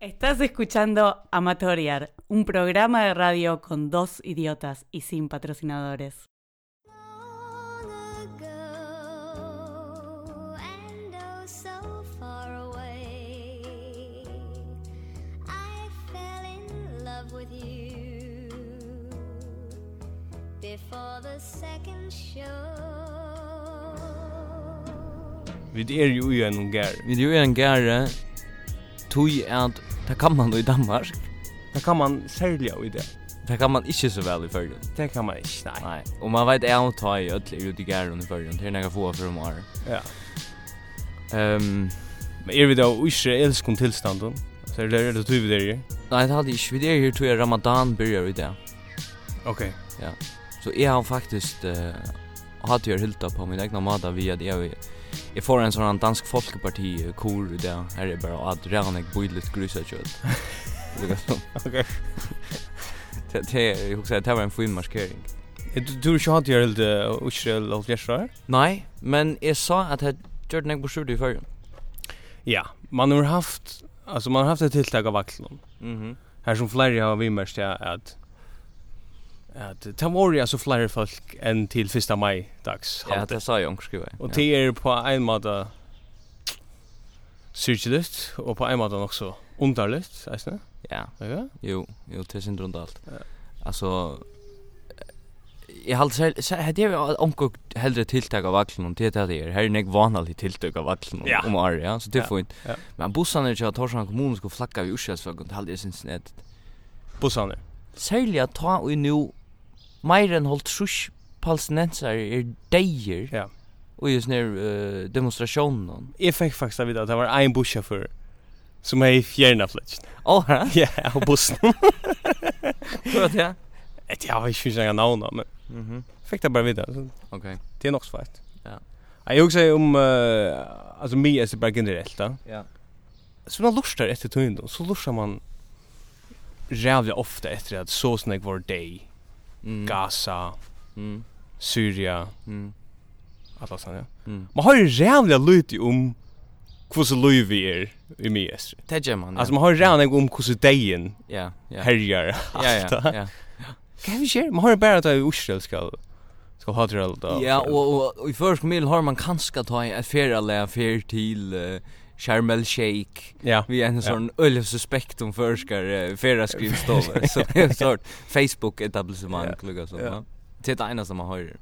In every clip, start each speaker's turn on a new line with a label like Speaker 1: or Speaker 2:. Speaker 1: Estás escuchando Amatoriar, un programa de radio con dos idiotas y sin patrocinadores.
Speaker 2: Long ago and oh so far away, I fell in love with you before the second show.
Speaker 3: Vi er jo i en gær.
Speaker 4: Vi er jo en gære tog at det kan man jo i Danmark.
Speaker 3: Det kan man særlig av i det.
Speaker 4: Det kan man ikke så vel i Førgen.
Speaker 3: Det kan man ikke, nei.
Speaker 4: Nei. Og man vet jeg å ta i ødelig er ute i gæren i Førgen. Det er noe få for om året.
Speaker 3: Ja.
Speaker 4: Um,
Speaker 3: Men er vi da i israelskon tilstanden? Så er det er det tog vi der i?
Speaker 4: nei, det hadde ikke vi det her tog jeg Ramadan begynner i det.
Speaker 3: Ok.
Speaker 4: Så jeg har faktisk uh, hatt jeg hylta på min egna måte via at jeg Jeg får en sånn dansk eh, folkeparti-kor i det. Her er bare at Ravnek bor litt gruset kjøtt. Det er sånn.
Speaker 3: Ok.
Speaker 4: Det- det- Jeg husker at det var en fin markering.
Speaker 3: Er Du tror ikke hatt gjør helt uh, Israel og fjersra her?
Speaker 4: Nei, men jeg sa at jeg gjør den jeg bor i Førgen.
Speaker 3: Ja. Man har haft, altså man har haft et tiltak av vakslån.
Speaker 4: Mhm.
Speaker 3: Her som flere har vimmerst ja, at at det var jo altså flere folk enn til 1. mai dags.
Speaker 4: Ja, det sa jeg onkel skriva.
Speaker 3: Og det er på en måte syrkelyst, og på en måte også underlyst, eisne.
Speaker 4: Ja,
Speaker 3: Ja.
Speaker 4: jo, jo, det synd rundt alt.
Speaker 3: Ja.
Speaker 4: Altså Jeg halt selv, det er jo onkel heldre tiltak av vaklen om det er det er. Her er nek vanlig tiltak av vaklen
Speaker 3: Ja.
Speaker 4: om året, ja, så det
Speaker 3: Ja,
Speaker 4: får ikke.
Speaker 3: ja.
Speaker 4: Men bussene er ikke at Torsan kommune skulle flakka vi ursjelsfag, og det er halde jeg synes net.
Speaker 3: Bussane.
Speaker 4: Særlig at ta og nu meir enn holdt trus palestinensar er deir
Speaker 3: Ja.
Speaker 4: og just nir uh, demonstrasjonen.
Speaker 3: Jeg fikk faktisk vite at det var en bussjåfør som hei fjerna fletjen.
Speaker 4: Åh, hva?
Speaker 3: Ja, og bussen.
Speaker 4: Hva er det?
Speaker 3: Et, jeg har ikke finnes noen navn, men
Speaker 4: Mhm,
Speaker 3: fikk det bare vite. Så
Speaker 4: ok.
Speaker 3: Det er nok svært.
Speaker 4: Ja.
Speaker 3: Jeg husker om, uh, um, altså, mye er det bare generelt, da.
Speaker 4: Ja.
Speaker 3: Så man lustar etter tøyndom, så lustar man rævlig ofte etter at så snakk var deg,
Speaker 4: Mm.
Speaker 3: Gaza,
Speaker 4: Mm.
Speaker 3: Syria,
Speaker 4: Mm.
Speaker 3: alla sånn, ja.
Speaker 4: Mm.
Speaker 3: Man har rævlig lyt om hvordan løy vi um er i mye etter.
Speaker 4: Det gör man.
Speaker 3: Altså, man har rævlig om hvordan degen
Speaker 4: ja, Mm. ja.
Speaker 3: um herjar.
Speaker 4: Ja, ja, ja.
Speaker 3: Kan vi kjøre? er Man har bare at det i Israel skal, skal ha til alt.
Speaker 4: Ja, og, og, og i første mil har man kanskje ta et ferielæg fer til uh, Sharm el Sheikh.
Speaker 3: Ja,
Speaker 4: Vi er en sånn øyelig suspekt om førskar uh, ferieskrivstål. Så det er en sort Facebook-etablissement,
Speaker 3: Ja,
Speaker 4: klukka sånn.
Speaker 3: ja.
Speaker 4: Ja. Det er det eneste man hører.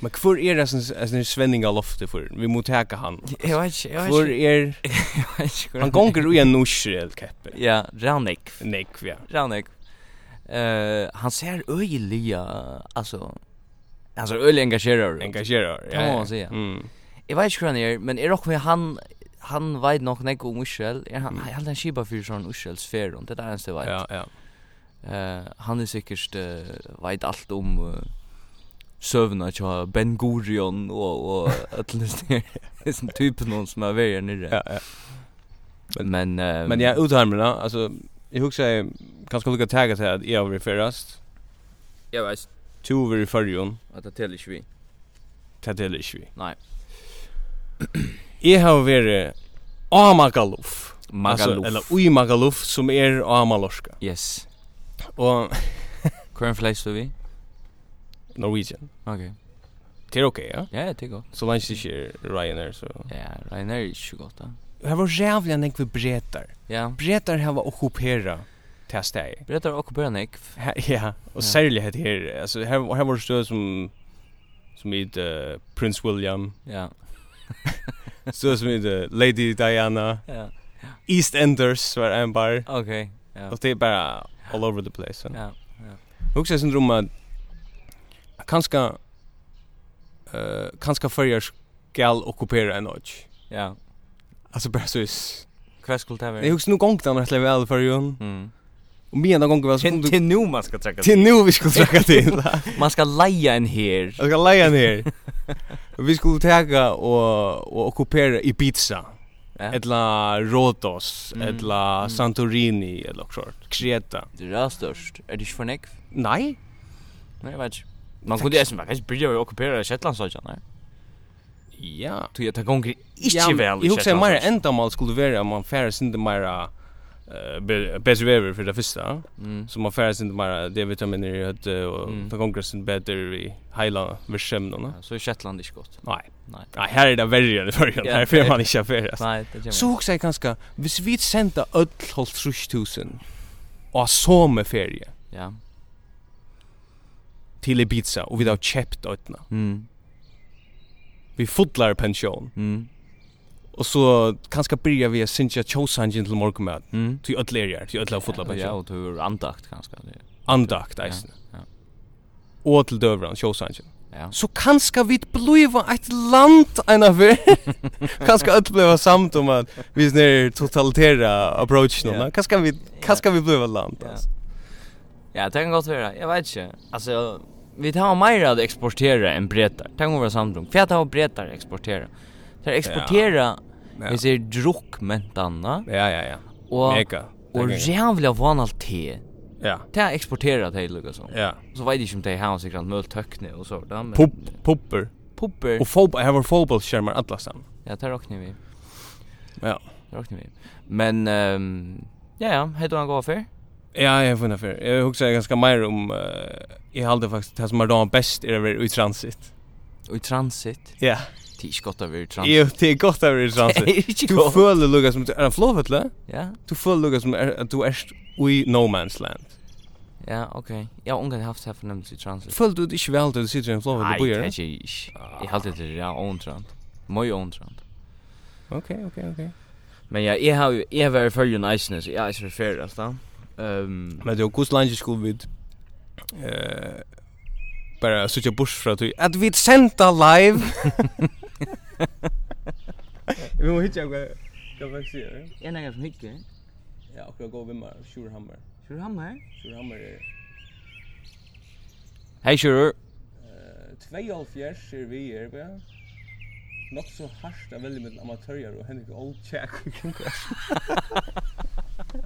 Speaker 3: men hvor er det sånn svenninga loftet for? Vi må teka han.
Speaker 4: Jeg vet ikke, jeg
Speaker 3: Hvor
Speaker 4: vet ikke.
Speaker 3: er...
Speaker 4: Jeg vet ikke
Speaker 3: Han gonger ui en Israel-keppe.
Speaker 4: Ja, Ranik.
Speaker 3: Nekv, ja.
Speaker 4: Ranik. Uh, han ser øyelig, altså... Han ser øyelig engasjerer. ut.
Speaker 3: Engagerar, ja.
Speaker 4: Det må man
Speaker 3: ja.
Speaker 4: säga.
Speaker 3: Mm.
Speaker 4: Jeg vet ikke hva han er, men er okkur han han veit nok nek om Israel. Er han mm. han er skipa fyrir sånn Israels fer og det er hans det veit.
Speaker 3: Ja, ja.
Speaker 4: Eh, han er sikkert uh, veit alt om uh, sövna tja Ben Gurion og og atlas der. Sen typen någon som är värre nere.
Speaker 3: Ja, ja.
Speaker 4: Men uh,
Speaker 3: Men ja, utarmarna, alltså jag huxar jag kanske lukar tagga till att jag har varit förrast.
Speaker 4: jag vet
Speaker 3: Tu har varit förrjon,
Speaker 4: att det täller svi.
Speaker 3: det till inte vi.
Speaker 4: Nej.
Speaker 3: Jag har varit Amagaluf.
Speaker 4: Magaluf.
Speaker 3: Alltså, eller Ui Magaluf er som är Amalorska.
Speaker 4: yes. er
Speaker 3: Och
Speaker 4: Kern flies vi.
Speaker 3: Norwegian.
Speaker 4: Okej.
Speaker 3: Det är okej, er ja.
Speaker 4: Ja, det går.
Speaker 3: Så länge det inte är Ryanair så.
Speaker 4: Ja, Rainer är ju gott. ja.
Speaker 3: Det var jävligt en ekvi bretar.
Speaker 4: Ja.
Speaker 3: Bretar har varit ockuperat till steg.
Speaker 4: Berättar okkupera nek.
Speaker 3: Her- Ja,
Speaker 4: Ja.
Speaker 3: og særlig hette her, altså her, her var det stød som som i uh, Prince William,
Speaker 4: Ja.
Speaker 3: stød som i uh, Lady Diana,
Speaker 4: Ja.
Speaker 3: EastEnders var en bar,
Speaker 4: Okej. Ja.
Speaker 3: og det er bare all over the place. Ja.
Speaker 4: Ja.
Speaker 3: Hugs jeg syndrom at kanska uh, kanska fyrir skal okkupera en odj.
Speaker 4: Ja.
Speaker 3: Altså bare sås.
Speaker 4: Hva skulle det
Speaker 3: Jeg
Speaker 4: være? Mm.
Speaker 3: hugs nu gongt han rettelig vel for jo, og mye enda gongt vel så kom du
Speaker 4: Til nu man skal trekka
Speaker 3: til nu vi skulle trakka til.
Speaker 4: Man skal leia en her.
Speaker 3: Jag ska leja ner. Vi skulle tagga och och okkupera Ibiza,
Speaker 4: Ja.
Speaker 3: eller Rhodos,
Speaker 4: Mm.
Speaker 3: eller
Speaker 4: Mm.
Speaker 3: Santorini eller något sånt. Kreta.
Speaker 4: Det er størst. Er det ikke for nek?
Speaker 3: Nej.
Speaker 4: Nei, jeg vet ikke. Man kunne eisen, man kan ikke byrja å okkupera Shetlandsøyja, nei?
Speaker 3: Ja.
Speaker 4: Tog jeg tar gonger
Speaker 3: Ja,
Speaker 4: ikke vel
Speaker 3: Jag
Speaker 4: i
Speaker 3: husker mer
Speaker 4: Shetlandsøyja.
Speaker 3: ändamål skulle vara om man färre sin det mer eh be- bättre väder för det första
Speaker 4: Mm.
Speaker 3: så man färdas inte mer eh, D-vitaminer i hötte och
Speaker 4: Mm.
Speaker 3: ta kongressen bättre i hela versämnorna.
Speaker 4: Ja, Så är Shetland inte gott.
Speaker 3: Nej.
Speaker 4: Nej.
Speaker 3: Nej, här är er det värre än förr.
Speaker 4: Ja,
Speaker 3: Här får
Speaker 4: det-
Speaker 3: man inte affäras.
Speaker 4: Nej, det gör
Speaker 3: Så hugsar jag ganska, hvis vi senda öll holdt tusen og så med ferie
Speaker 4: Ja.
Speaker 3: til Ibiza og vi har kjept öllna.
Speaker 4: Mm.
Speaker 3: Vi fotlar pensjon
Speaker 4: Mm.
Speaker 3: og så kanskje byrja vi a sinja tjosangen til morgumad
Speaker 4: Mm.
Speaker 3: til öll er her, til öll har fotlar
Speaker 4: Ja,
Speaker 3: pensjon.
Speaker 4: och du är andakt kanske. det-
Speaker 3: Andakt eisen.
Speaker 4: Ja, ja.
Speaker 3: Og til døvran, tjosangen.
Speaker 4: Ja.
Speaker 3: Så kanskje vi bliva eit land enn av vi. Kanskje öll bliva samt om at vi snir totalitera approach
Speaker 4: Ja.
Speaker 3: nå. Kanskje vi, kanskje vi bliva land.
Speaker 4: Ja.
Speaker 3: altså.
Speaker 4: Ja, det kan gott vara. Jag vet inte. Alltså vi tar mer att exportera än bretar. Tänk om våra samdrung. För jag tar bretar exportera. Det är exportera
Speaker 3: Ja.
Speaker 4: vi ser druck mentanna
Speaker 3: Ja, ja, ja.
Speaker 4: och
Speaker 3: Mega.
Speaker 4: och
Speaker 3: Mega.
Speaker 4: jävla vanalt te.
Speaker 3: Ja,
Speaker 4: Det är exportera till Lucas.
Speaker 3: ja.
Speaker 4: Så vet jag inte om det här sig grant mölt höckne och så där men
Speaker 3: Pop, popper.
Speaker 4: popper.
Speaker 3: Och fotboll, här var fotbollsskärmar alla stan.
Speaker 4: Ja, det rocknar vi.
Speaker 3: Ja.
Speaker 4: Det rocknar vi. Men ehm ja ja, heter han gå för?
Speaker 3: Ja, jag funderar för. Jag huxar ganska mer om eh jag hade faktiskt det som är då bäst är över i transit.
Speaker 4: Och i transit.
Speaker 3: Ja.
Speaker 4: Det är skott över i transit.
Speaker 3: Jo, det är er gott över i transit.
Speaker 4: inte
Speaker 3: Du
Speaker 4: gott.
Speaker 3: följer Lucas som är en flåvetla.
Speaker 4: Ja.
Speaker 3: Du följer Lucas som är att du är i no man's land.
Speaker 4: Ja, okej. Jag har inte haft det här förnämnelse i transit.
Speaker 3: Följer du dig väl du sitter i en flåvetla på
Speaker 4: det
Speaker 3: er?
Speaker 4: är inte. Jag har alltid det där ontrant. Moj ontrant.
Speaker 3: Okej, okej, okej.
Speaker 4: Men ja, jag har ju jag var för ju nice så jag är så fair alltså. Ehm
Speaker 3: Men det är kus lunch skulle vid eh bara söka bush för att du att vi sända live. Vi måste hitta vad vad vi ser.
Speaker 4: en annan som hickar.
Speaker 3: Ja, och jag går vid mig Sjurehammer.
Speaker 4: Hur han här?
Speaker 3: Sjurehammer är
Speaker 4: Hej Shurur.
Speaker 3: eh 72 är vi är va. Något så harst att välja mellan amatörer och Henrik Olchak.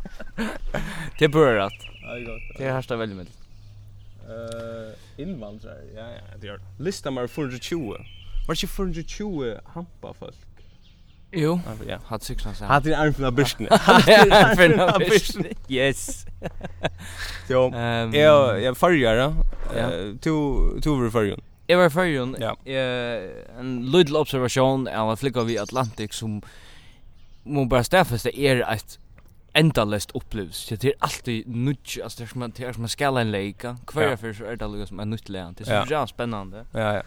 Speaker 4: Det börjar rätt.
Speaker 3: Ja, er gott.
Speaker 4: Det är härsta väldigt med.
Speaker 3: Eh invandrare. Ja, ja, det gör det. Lista mig 420. Var det 420 hampa folk?
Speaker 4: Jo.
Speaker 3: Ja.
Speaker 4: Hat cyklar så
Speaker 3: Hatt er armfna byrstene.
Speaker 4: Finna Yes.
Speaker 3: Jo,
Speaker 4: Ehm
Speaker 3: jag jag förgör
Speaker 4: Ja.
Speaker 3: då. To to över förgör.
Speaker 4: Jag var förrjun,
Speaker 3: Ja.
Speaker 4: eh, en lydel observation av en flicka vid Atlantik som må bara stäffesta er ett endalest upplevs. Det är alltid nudge, alltså det är som att det är som att skala en leka. Kvarja
Speaker 3: Ja.
Speaker 4: för så är det alltid som en nytt län. Det är så
Speaker 3: Ja.
Speaker 4: jävla spännande.
Speaker 3: Ja ja.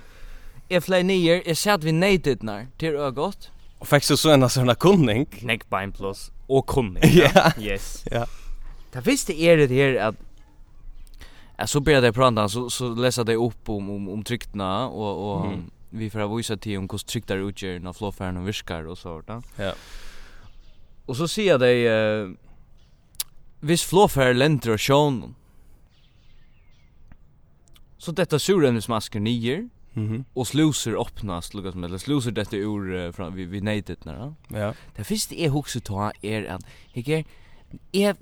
Speaker 4: Jag flög ner, jag satt vid nated när, till ögat.
Speaker 3: Och faktiskt så en sån kunning.
Speaker 4: Knäckbein plus, och kunnig.
Speaker 3: Ja.
Speaker 4: Yes.
Speaker 3: Ja.
Speaker 4: Det visste är det här att Ja, så började jag prata så så läsa det upp om om om tryckna och och
Speaker 3: Mm.
Speaker 4: vi får visa till om hur tryckta det utgör när flåfärden och viskar och sånt där.
Speaker 3: Ja.
Speaker 4: Och så ser jag dig eh vis flåfärden länder och sjön. Så detta surrensmasker nier
Speaker 3: Mhm.
Speaker 4: och sluser öppnas lukas med eller sluser detta ur eh, från vi vi natet när. Ja.
Speaker 3: Mhm. Ja.
Speaker 4: Det første jeg husker ta er at jeg er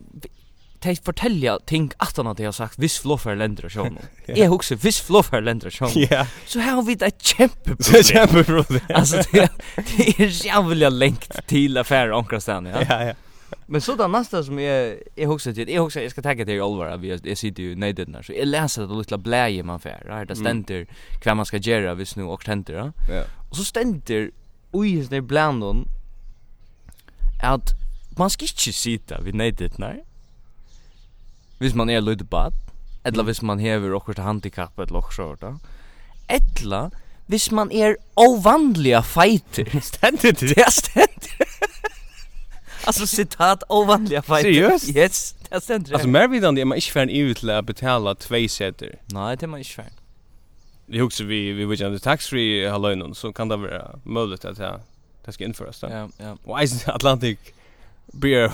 Speaker 4: jeg forteller ting at han at jeg har sagt hvis flåfer lender og sjån.
Speaker 3: Ja.
Speaker 4: Jeg husker hvis flåfer lender og sjån.
Speaker 3: Ja.
Speaker 4: Så her har vi et kjempe
Speaker 3: Så jävla bra det.
Speaker 4: Altså, det, det er jævlig lengt til affære omkring ja.
Speaker 3: Ja ja.
Speaker 4: Men så det nästa som jag jag också till jag också jag ska tagga till i Olvara vi jag sitter ju nej där så jag läser det lilla bläje man er får där det
Speaker 3: Mm.
Speaker 4: ständer vad man ska göra vis nu och ständer ja.
Speaker 3: Ja.
Speaker 4: Och så ständer oj is det bland hon att man ska inte sitta vid nej där nej. Vis man är lite bad eller vis man häver och ett handikapp eller och så där. Eller vis man är ovanliga fighter.
Speaker 3: Ständer det.
Speaker 4: Det är ständer. Alltså citat ovanliga fighter.
Speaker 3: Seriöst?
Speaker 4: Yes, det är ständer.
Speaker 3: Alltså mer vid den man inte färn ut till att betala två sätter.
Speaker 4: nej, det är man inte fan.
Speaker 3: Vi huxar vi vi vill ju tax free hallönen så kan det vara möjligt att ja, det ska införas då.
Speaker 4: Ja, ja.
Speaker 3: Och Ice Atlantic beer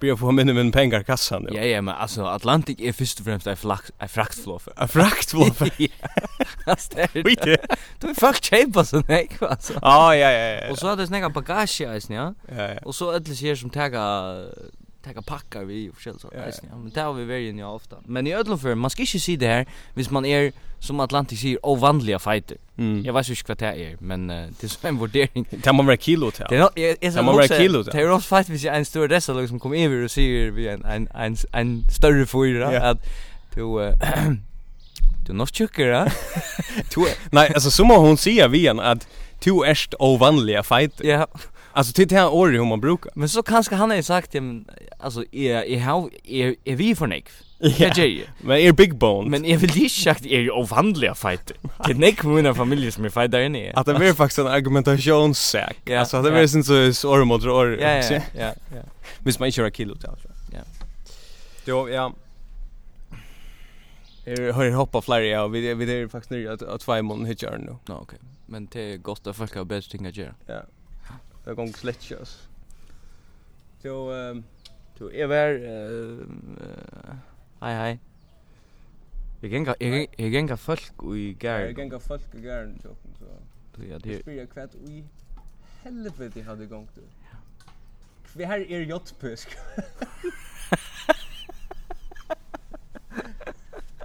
Speaker 3: beer på minimum pengar kassan.
Speaker 4: Ja, ja, men alltså Atlantic er är först och främst en flakt en fraktflåfer.
Speaker 3: A frakt vad.
Speaker 4: Ja. er Alltså, det är-
Speaker 3: Skit.
Speaker 4: Du är fuck cheap alltså, nej, alltså.
Speaker 3: Ja ja ja.
Speaker 4: Och så hade jag snäcka bagage i isen, ja.
Speaker 3: Ja ja.
Speaker 4: Och så ödles här som tagga Taka pakkar vi och själv så.
Speaker 3: Ja, ja.
Speaker 4: eisen, Ja, men det har vi väl ju ofta. Men i ödlom för man ska inte se det här, hvis man är som er, Atlantic säger ovanliga fighter.
Speaker 3: Mm.
Speaker 4: Jag vet inte vad det är, men eh, det är som en värdering.
Speaker 3: Det må vara kilo till.
Speaker 4: Det är jag jag
Speaker 3: Det må vara kilo, det.
Speaker 4: Det är också er fight hvis jag är en stor dessa liksom kommer över och ser vi en en en en större fyra
Speaker 3: Ja.
Speaker 4: att du eh, er du nås tjockare. Du är-
Speaker 3: Nej, alltså så må hon säga vi igen att du erst ovanliga fighter.
Speaker 4: ja.
Speaker 3: Alltså till det här året hur man brukar.
Speaker 4: Men så kanske han har sagt ja, men alltså är är how är är vi för nek.
Speaker 3: Ja.
Speaker 4: Det är ju.
Speaker 3: Men är big boned.
Speaker 4: Men jag vill inte sagt är ju ovanliga fighter. Det är nek med mina familjer som är fighter inne.
Speaker 3: Att det blir faktiskt en argumentationssäk.
Speaker 4: Ja,
Speaker 3: alltså att det
Speaker 4: ja.
Speaker 3: blir sin så så år mot år.
Speaker 4: Ja ja ja ja.
Speaker 3: Hvis man inte har kilo till. alltså.
Speaker 4: Ja.
Speaker 3: Jo, ja. Jag har hoppa flera ja, och vi er vi är faktiskt nere att att två månader hittar nu.
Speaker 4: Nå okej. Men det är gott att folk har bättre ting att göra.
Speaker 3: Ja. Det går slett körs. Jo, ehm
Speaker 4: Du är väl eh hej hej. Jag gänga jag jag gänga folk och i
Speaker 3: jag
Speaker 4: gär.
Speaker 3: kan gå folk och gärna chocken så.
Speaker 4: Ja
Speaker 3: Det
Speaker 4: det
Speaker 3: spyr kvätt i helvete hade gång då. Vi här är jottpusk.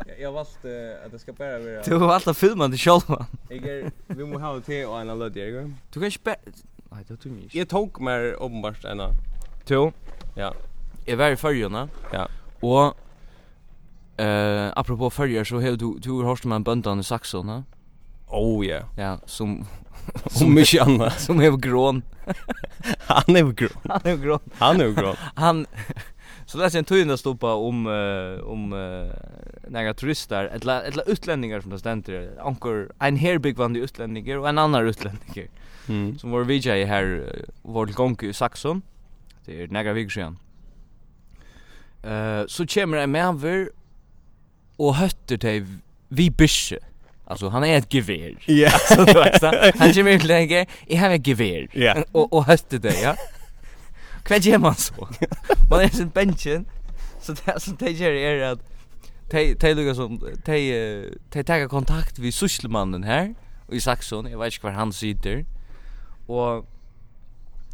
Speaker 3: Jag- Jag valde att det ska bara er- vara...
Speaker 4: Du har alltid filmat det själv.
Speaker 3: Jag är, vi må ha te och en lödd jag.
Speaker 4: Du kan inte Nej, det tror jag inte.
Speaker 3: Jag tog mig uppenbart en
Speaker 4: Jo.
Speaker 3: Ja.
Speaker 4: Jeg var i fyrjuna.
Speaker 3: Ja.
Speaker 4: Og eh apropos fyrjer så har du du um har hørt om en bøndan i Saxon, ja?
Speaker 3: Oh ja.
Speaker 4: Ja, som
Speaker 3: Som mycket annat.
Speaker 4: som har grön.
Speaker 3: Han är ju grå.
Speaker 4: Han har grön.
Speaker 3: Han är ju grå.
Speaker 4: Han så läser en tøyna stoppa om eh, om uh, några turister, eller eller utlänningar som det ständer. Ankor en herbig vanlig utlänningar och en annan utlänningar
Speaker 3: Mm.
Speaker 4: som var VJ här eh, var till gång i Saxon. er Det är några veckor sedan. Eh så kommer en manver och hötter dig vi bysche. Alltså han är ett gevär.
Speaker 3: Ja.
Speaker 4: Så du vet så. Han kommer ut läge. Jag har ett gevär.
Speaker 3: Ja.
Speaker 4: Och och hötter dig, ja. Kvad gör man så? Man är sin benchen. Så det er som det gör är att Tej tej Lucas som tej eh, tej tar kontakt vi sysselmannen här i Saxon. Jag vet inte var han sitter. Og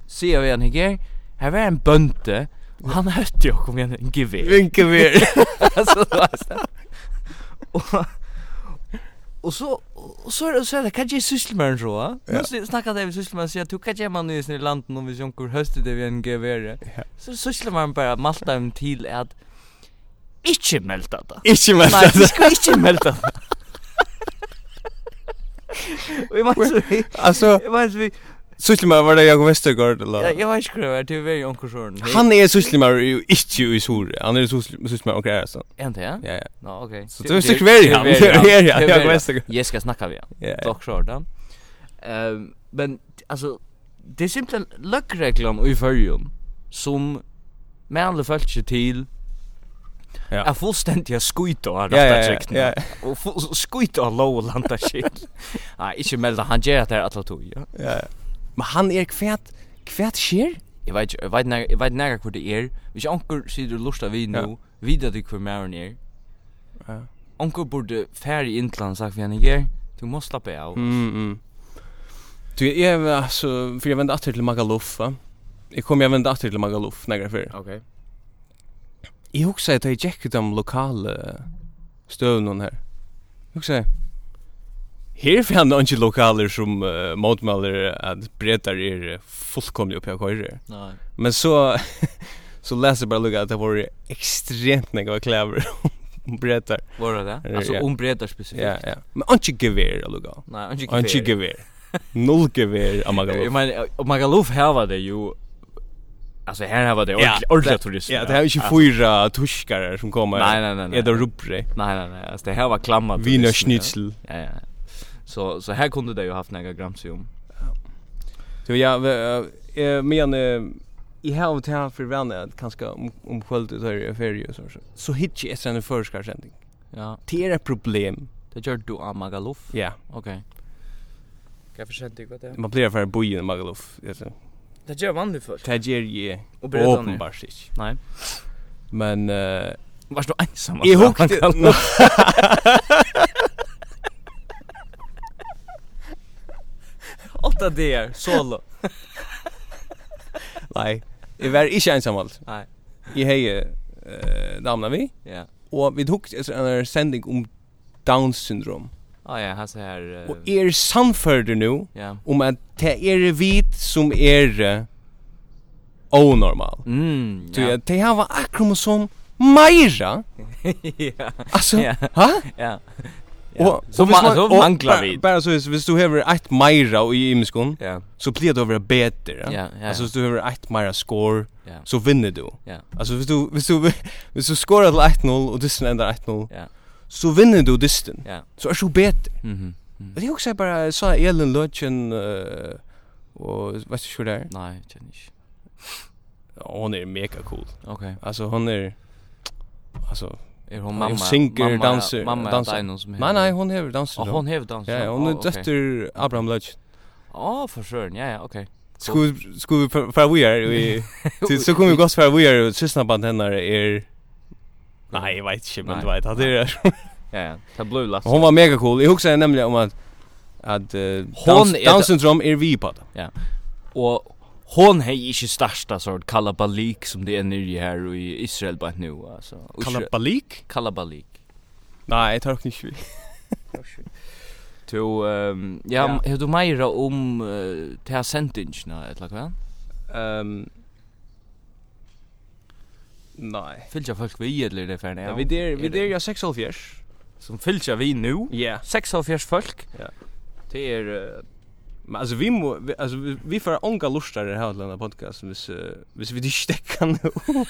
Speaker 4: ser vi han her Her var en bønte Og han høtte jo kom igjen en gevær
Speaker 3: Vinke vi.
Speaker 4: Altså det var sånn Og Og så Og så er det så er det Hva er sysselmann så va? Nå s- snakker det vi sysselmann Sier at du hva er man i sin landen Om vi sjøn hvor høstet det vi en gevær
Speaker 3: Ja.
Speaker 4: Så sysselmann bare Malta dem til at Ikke melda det
Speaker 3: Inte mest.
Speaker 4: Nei, du skal ikke melda det Og jeg mener så vi
Speaker 3: Alltså,
Speaker 4: Jeg mener så vi
Speaker 3: sysslimar var det Jakob Westergaard
Speaker 4: Ja,
Speaker 3: eller?
Speaker 4: jag vet inte vad det er är, det är ju onkel Sjörn.
Speaker 3: Han är sysslimar ju inte i sur. Han er är sysslimar och grejer så.
Speaker 4: Är inte det?
Speaker 3: Ja ja.
Speaker 4: Ja, okej.
Speaker 3: Så du är så kvar i han.
Speaker 4: Det är
Speaker 3: Ja ja,
Speaker 4: Det
Speaker 3: Jakob
Speaker 4: är Verjan.
Speaker 3: Westergaard.
Speaker 4: Jag ska snacka med han.
Speaker 3: Ja. ja.
Speaker 4: Dock Sjörn. Ehm, men alltså det är simpelt lökreklam i förjun som med alla följt till
Speaker 3: Ja.
Speaker 4: Ja. fullständiga skojt och
Speaker 3: Ja ja.
Speaker 4: rätta
Speaker 3: ja, Ja.
Speaker 4: Och full- skojt och low landa shit. Nej, inte melda han ger att det er är att låta ju.
Speaker 3: Ja. Men han er är kvärt kvärt skär.
Speaker 4: Jag vet jag vet när jag vet när jag det er. är. Vi onkel sitter lusta vi
Speaker 3: Ja.
Speaker 4: nu. Vidare det kvar mer er. är.
Speaker 3: Ja.
Speaker 4: Onkel borde färdig intland sagt vi han igår. Du måste slappa av.
Speaker 3: Mm. mm. Du jag är alltså för jag vände åter till Magaluf. va? Jag kommer jag vända åter till Magaluf några för.
Speaker 4: Okej.
Speaker 3: Jag huxar att jag checkade de lokala stövnen här. Huxar Här fann jag inte lokaler som uh, motmäler att bretar är fullkomliga uppe jag kör.
Speaker 4: Nej.
Speaker 3: Men så så läser jag bara lucka att det var extremt några kläver och bretar.
Speaker 4: Var det det?
Speaker 3: Eh, Ja.
Speaker 4: Alltså om bredare specifikt.
Speaker 3: Ja, ja. Men inte gevär lucka.
Speaker 4: Nej, han gick.
Speaker 3: Inte gevär. Noll gevär av
Speaker 4: Jag
Speaker 3: Magaluf.
Speaker 4: menar och Magaluf här var det ju Alltså här var det ordentligt ordentliga turister.
Speaker 3: Ja, det är ju
Speaker 4: Alltså,
Speaker 3: fyra tuskar som kommer.
Speaker 4: Nej, nej, nej, nej.
Speaker 3: Är det rubbre?
Speaker 4: Nej, nej, nej. Alltså det här var klamma
Speaker 3: Wiener
Speaker 4: turister, ja.
Speaker 3: schnitzel.
Speaker 4: Ja, ja. Så så här kunde det ju haft några gramsium.
Speaker 3: Så jag eh men eh, i här och här för vänner att kanske om om sköldet så är det ferie och så så. Så hitch är sen en förskarsändning.
Speaker 4: Ja,
Speaker 3: Det är ett problem.
Speaker 4: det gör du av Magaluf.
Speaker 3: Ja,
Speaker 4: Okej. Kan jag förstå inte vad det
Speaker 3: man blir för bojen i Magaluf. alltså.
Speaker 4: Det gör vanligt folk.
Speaker 3: Det ger ju
Speaker 4: Och berätta nu.
Speaker 3: uppenbart inte.
Speaker 4: Nej.
Speaker 3: Men eh
Speaker 4: Vars du ensam?
Speaker 3: jag hukte
Speaker 4: Åtta DR, solo.
Speaker 3: Nej, jag var inte ensam alls.
Speaker 4: Nej.
Speaker 3: i heje eh damna vi
Speaker 4: Ja.
Speaker 3: och vi tog en sending om Downs syndrom. er
Speaker 4: Ah ja, han säger
Speaker 3: Och är samförd nu
Speaker 4: Eh. Ja.
Speaker 3: om att det är er vit som är eh, onormal.
Speaker 4: Mm.
Speaker 3: Så jag det här var akromosom Maira.
Speaker 4: Ja.
Speaker 3: Alltså,
Speaker 4: Ja.
Speaker 3: ha?
Speaker 4: Ja.
Speaker 3: Och
Speaker 4: Så
Speaker 3: och hvis
Speaker 4: ma-
Speaker 3: man-
Speaker 4: så
Speaker 3: och
Speaker 4: manglar
Speaker 3: bara-
Speaker 4: vi.
Speaker 3: Bara så hvis du har ett Maira och i imskon
Speaker 4: Ja.
Speaker 3: så blir det över bättre.
Speaker 4: Ja, ja.
Speaker 3: Alltså hvis du har ett Maira score
Speaker 4: Ja.
Speaker 3: så vinner du.
Speaker 4: Ja.
Speaker 3: Alltså hvis du hvis du hvis du skorar till 1-0 och disten ändrar 1-0
Speaker 4: Ja.
Speaker 3: så vinner du disten.
Speaker 4: Ja.
Speaker 3: Så är du bättre.
Speaker 4: Mhm.
Speaker 3: Og det er også bare så Elin Løtjen uh, og vet du ikke hva det er?
Speaker 4: Nej, jag känner inte.
Speaker 3: Og hun er mega cool.
Speaker 4: Okej.
Speaker 3: Altså hun er altså
Speaker 4: Är hon
Speaker 3: Hon
Speaker 4: Er mamma?
Speaker 3: synger,
Speaker 4: mamma-
Speaker 3: dansar-
Speaker 4: Mamma er
Speaker 3: dansar.
Speaker 4: dansar. Mamma som
Speaker 3: Nei, nei, hon hever danser.
Speaker 4: Och hon häver dansar.
Speaker 3: Ja, ja, hon er døtter Abraham Løtjen.
Speaker 4: Ja, för sure. Ja, ja, okej.
Speaker 3: Skulle skulle vi fra vi er vi til- så kommer vi godt fra vi er og sysna band henne er Nei, jeg vet ikke, men du
Speaker 4: Nei.
Speaker 3: vet at det er
Speaker 4: Ja, ja. Ta blue last.
Speaker 3: Hon var mega cool. Jeg husker nemlig om at at uh, Down,
Speaker 4: er-
Speaker 3: Down syndrom er vi på det.
Speaker 4: Och hon hej inte största sort kalabalik som det är nere här i Israel bara nu alltså.
Speaker 3: Kalabalik?
Speaker 4: kalabalik.
Speaker 3: Nei, jeg tar ikke ikke vi.
Speaker 4: To ehm ja,
Speaker 3: Ja.
Speaker 4: hur du meira om eh, det här sentingarna eller vad?
Speaker 3: Ehm Nei.
Speaker 4: Fylgja folk vi eller er det färna.
Speaker 3: Ja, vi der vi der ja 6.5.
Speaker 4: som fylgja vi nu.
Speaker 3: Ja.
Speaker 4: 46 folk.
Speaker 3: Ja.
Speaker 4: Det
Speaker 3: er,
Speaker 4: är eh,
Speaker 3: Men alltså vi må vi, alltså vi, vi får onka lustar det här lilla podcast hvis uh, hvis vi inte stäcker nu.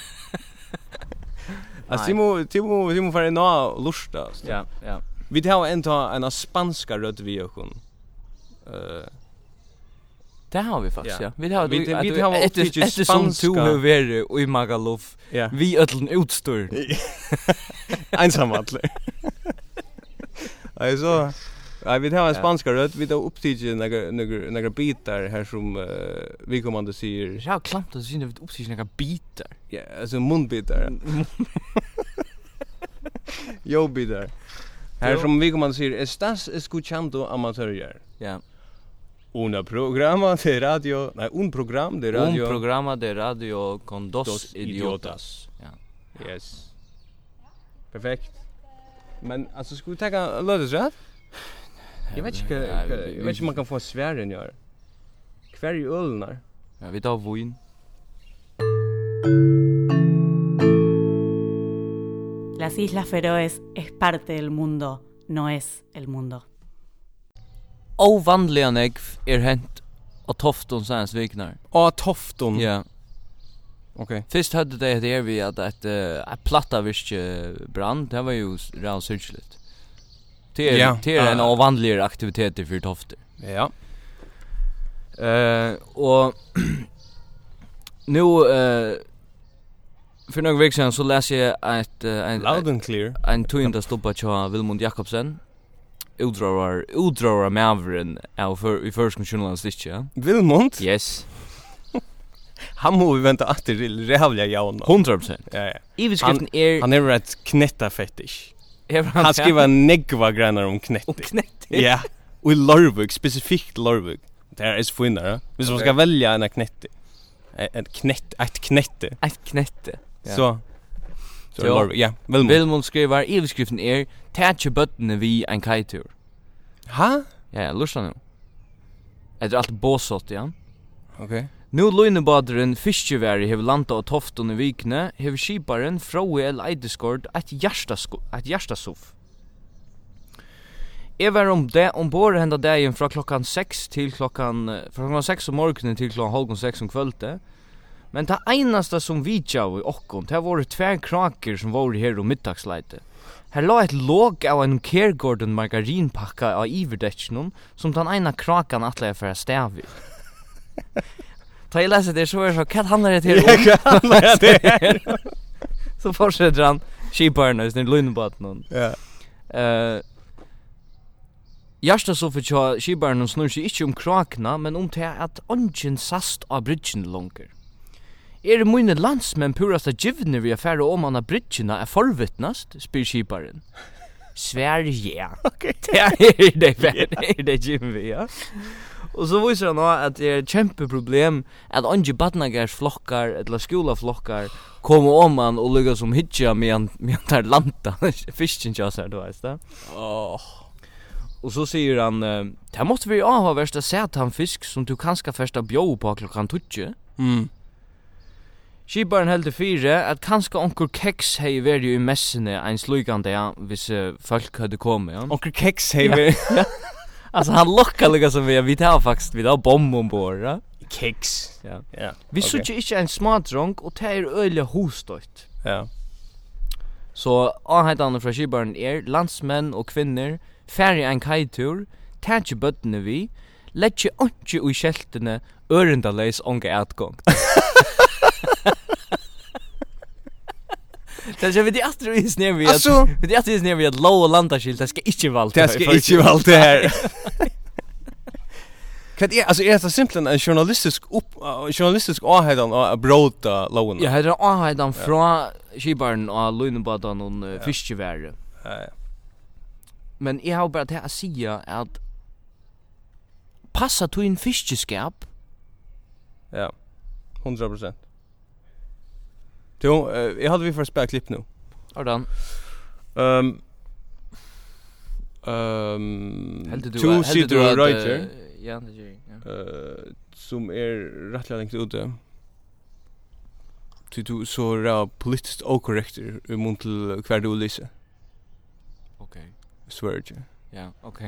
Speaker 3: Alltså vi må vi må vi må få en annan lusta.
Speaker 4: ja, ja.
Speaker 3: Vi tar en ta en spanska röd vi och hon. Eh
Speaker 4: Det har vi faktiskt,
Speaker 3: Ja.
Speaker 4: ja. Vi har
Speaker 3: Vi-
Speaker 4: vi,
Speaker 3: vi har
Speaker 4: ett ett
Speaker 3: upptäckt
Speaker 4: ett som
Speaker 3: spanska.
Speaker 4: du har varit i Magaluf.
Speaker 3: ja.
Speaker 4: Vi ödlen utstör.
Speaker 3: Ensam alla. Alltså Ja, vi tar en
Speaker 4: Ja.
Speaker 3: spanska röd, vi tar upptidigt några några några bitar här som eh, vi kommande säger
Speaker 4: Jag har klamt att syna vid uppsikt några bitar.
Speaker 3: Ja, alltså munbitar. Jobitar. Här
Speaker 4: Jo.
Speaker 3: som vi kommer att säga, estás escuchando amatörer.
Speaker 4: Ja.
Speaker 3: Una programa de radio, nej, un program de
Speaker 4: Un
Speaker 3: er radio.
Speaker 4: programa de er radio con dos,
Speaker 3: Dos
Speaker 4: idiotas.
Speaker 3: idiotas.
Speaker 4: Ja.
Speaker 3: yes. Perfekt. Men alltså ska vi ta låt rätt? Jag vet inte,
Speaker 4: Ja, vi-
Speaker 3: jag vet inte om man kan få svären gör. Kvar i ölnar.
Speaker 4: Ja, vi tar voin.
Speaker 1: Las Islas Feroes es parte del mundo, no es el mundo.
Speaker 4: Ovanliga negv er hent av Tofton sens viknar.
Speaker 3: Å tofton.
Speaker 4: Ja.
Speaker 3: Okej.
Speaker 4: Fyrst hade det det vi att ett ett platta virke brand. Det var ju rätt syrligt. Det är
Speaker 3: Ja.
Speaker 4: det är en
Speaker 3: Ah.
Speaker 4: ovanlig aktivitet för Tofter.
Speaker 3: Ja.
Speaker 4: Eh och nu eh för några veckor sedan så läste jag ett eh, en
Speaker 3: Loud and clear.
Speaker 4: en tunda stoppa tja Vilmund Jakobsen. Udrar udrar Mavren av för i första journalist ja.
Speaker 3: Vilmont.
Speaker 4: Yes.
Speaker 3: Han må vi vänta att det är jävla jauna.
Speaker 4: 100%.
Speaker 3: Ja, ja.
Speaker 4: Överskriften är
Speaker 3: Han er är rätt knätta fetish.
Speaker 4: är
Speaker 3: Han skriver negva grenar om
Speaker 4: och
Speaker 3: knätti.
Speaker 4: knäckt.
Speaker 3: Ja. Och i Larvik, specifikt Larvik. Det här är så finare. Hvis man ska välja en knätti. Ett knätt, ett knätte.
Speaker 4: Ett knätte. Ja.
Speaker 3: Så. Så är
Speaker 4: Ja.
Speaker 3: Larvik, ja. Vilmont.
Speaker 4: Vilmund er, skriver överskriften är Tätje böttene vi en kajtur.
Speaker 3: Ha?
Speaker 4: Ja, ja, lyssna nu. Det är er allt båsått, ja.
Speaker 3: Okej.
Speaker 4: Nú lúinubadurinn fiskjuveri hefur landa á toftun i vikne, hefur skiparen frái el eideskord at hjartasoff. Jeg var um om det ombord henda dagen fra klokkan 6 til klokkan, eh, fra klokkan 6 om morgenen til klokkan halvgån 6 om kvölde. Men det einasta som vi tjav i okkon, det var tver kraker som var her om middagsleite. Her la et låg av en Kergården margarinpakka av iverdetsjonen som den ena krakan atleie for a stavi. Ta jag läser det så är det så kan han det till om
Speaker 3: Jag kan lära det.
Speaker 4: så fortsätter han skiparna i Lundbatten.
Speaker 3: Ja.
Speaker 4: Eh Jasta så för skiparna snur sig inte om krakna men um om till att ungen sast av bridgen longer. Er det mine landsmenn purasta givne vi affæra om anna bridgina er forvittnast, spyr skiparen. Svär ja.
Speaker 3: Okej.
Speaker 4: Ja, er det er det er det givne vi, ja. Og så viser han også at det er et kjempeproblem at andre badnagarsflokkar, eller skolaflokkar, kommer om han og lukker som hitja medan medan tar landa fisken kjas her, du veist det.
Speaker 3: Åh.
Speaker 4: Og så sier han, eh, det måtte vi avhverst å se at han fisk som du kanskje først har bjå på klokkan tutje.
Speaker 3: Mm.
Speaker 4: Skiparen heldur fyre at kanskje onkur keks hei veri i messene ein slugande ja, hvis eh, folk hadde kommet. Ja.
Speaker 3: Onkel Keks hever.
Speaker 4: Altså han lokka lukka som vi, vi tar faktisk, vi tar bom ombord, ja.
Speaker 3: Keks.
Speaker 4: Ja.
Speaker 3: Ja.
Speaker 4: Vi okay. sutja ikkje ein smadrong, og det er øyla hostøyt.
Speaker 3: Ja.
Speaker 4: Så anheitane fra skibaren er landsmenn og kvinner, færre ein kajtur, tætje bøttene vi, letje ontje ui kjeltene, ørendaleis onge atgong. Det er så vi det atru i sned vi at
Speaker 3: Alltså,
Speaker 4: Vi det atru i sned vi at lov og landaskild, det er skal ikkje valgt.
Speaker 3: det ska inte vara allt det här. Kan är alltså är er det simpelt en journalistisk upp eh, journalistisk avhädan av brota lowen.
Speaker 4: Ja, her er anheitan fra skibaren og lunebadan og fiskevære.
Speaker 3: Ja.
Speaker 4: Men jeg har bare til å si at passa to en fiskeskap.
Speaker 3: Ja. 100%. Jo, eh, jag hade vi för spela klipp nu.
Speaker 4: Ordan.
Speaker 3: Ehm Ehm
Speaker 4: Heldur du
Speaker 3: to sitter och writer
Speaker 4: Ja, det gjør jeg. ja.
Speaker 3: eh som är rättligen inte ute. Ty du så ra politiskt okorrekt i mun till kvar du lyser.
Speaker 4: Ok.
Speaker 3: Swear it.
Speaker 4: Ja, ok.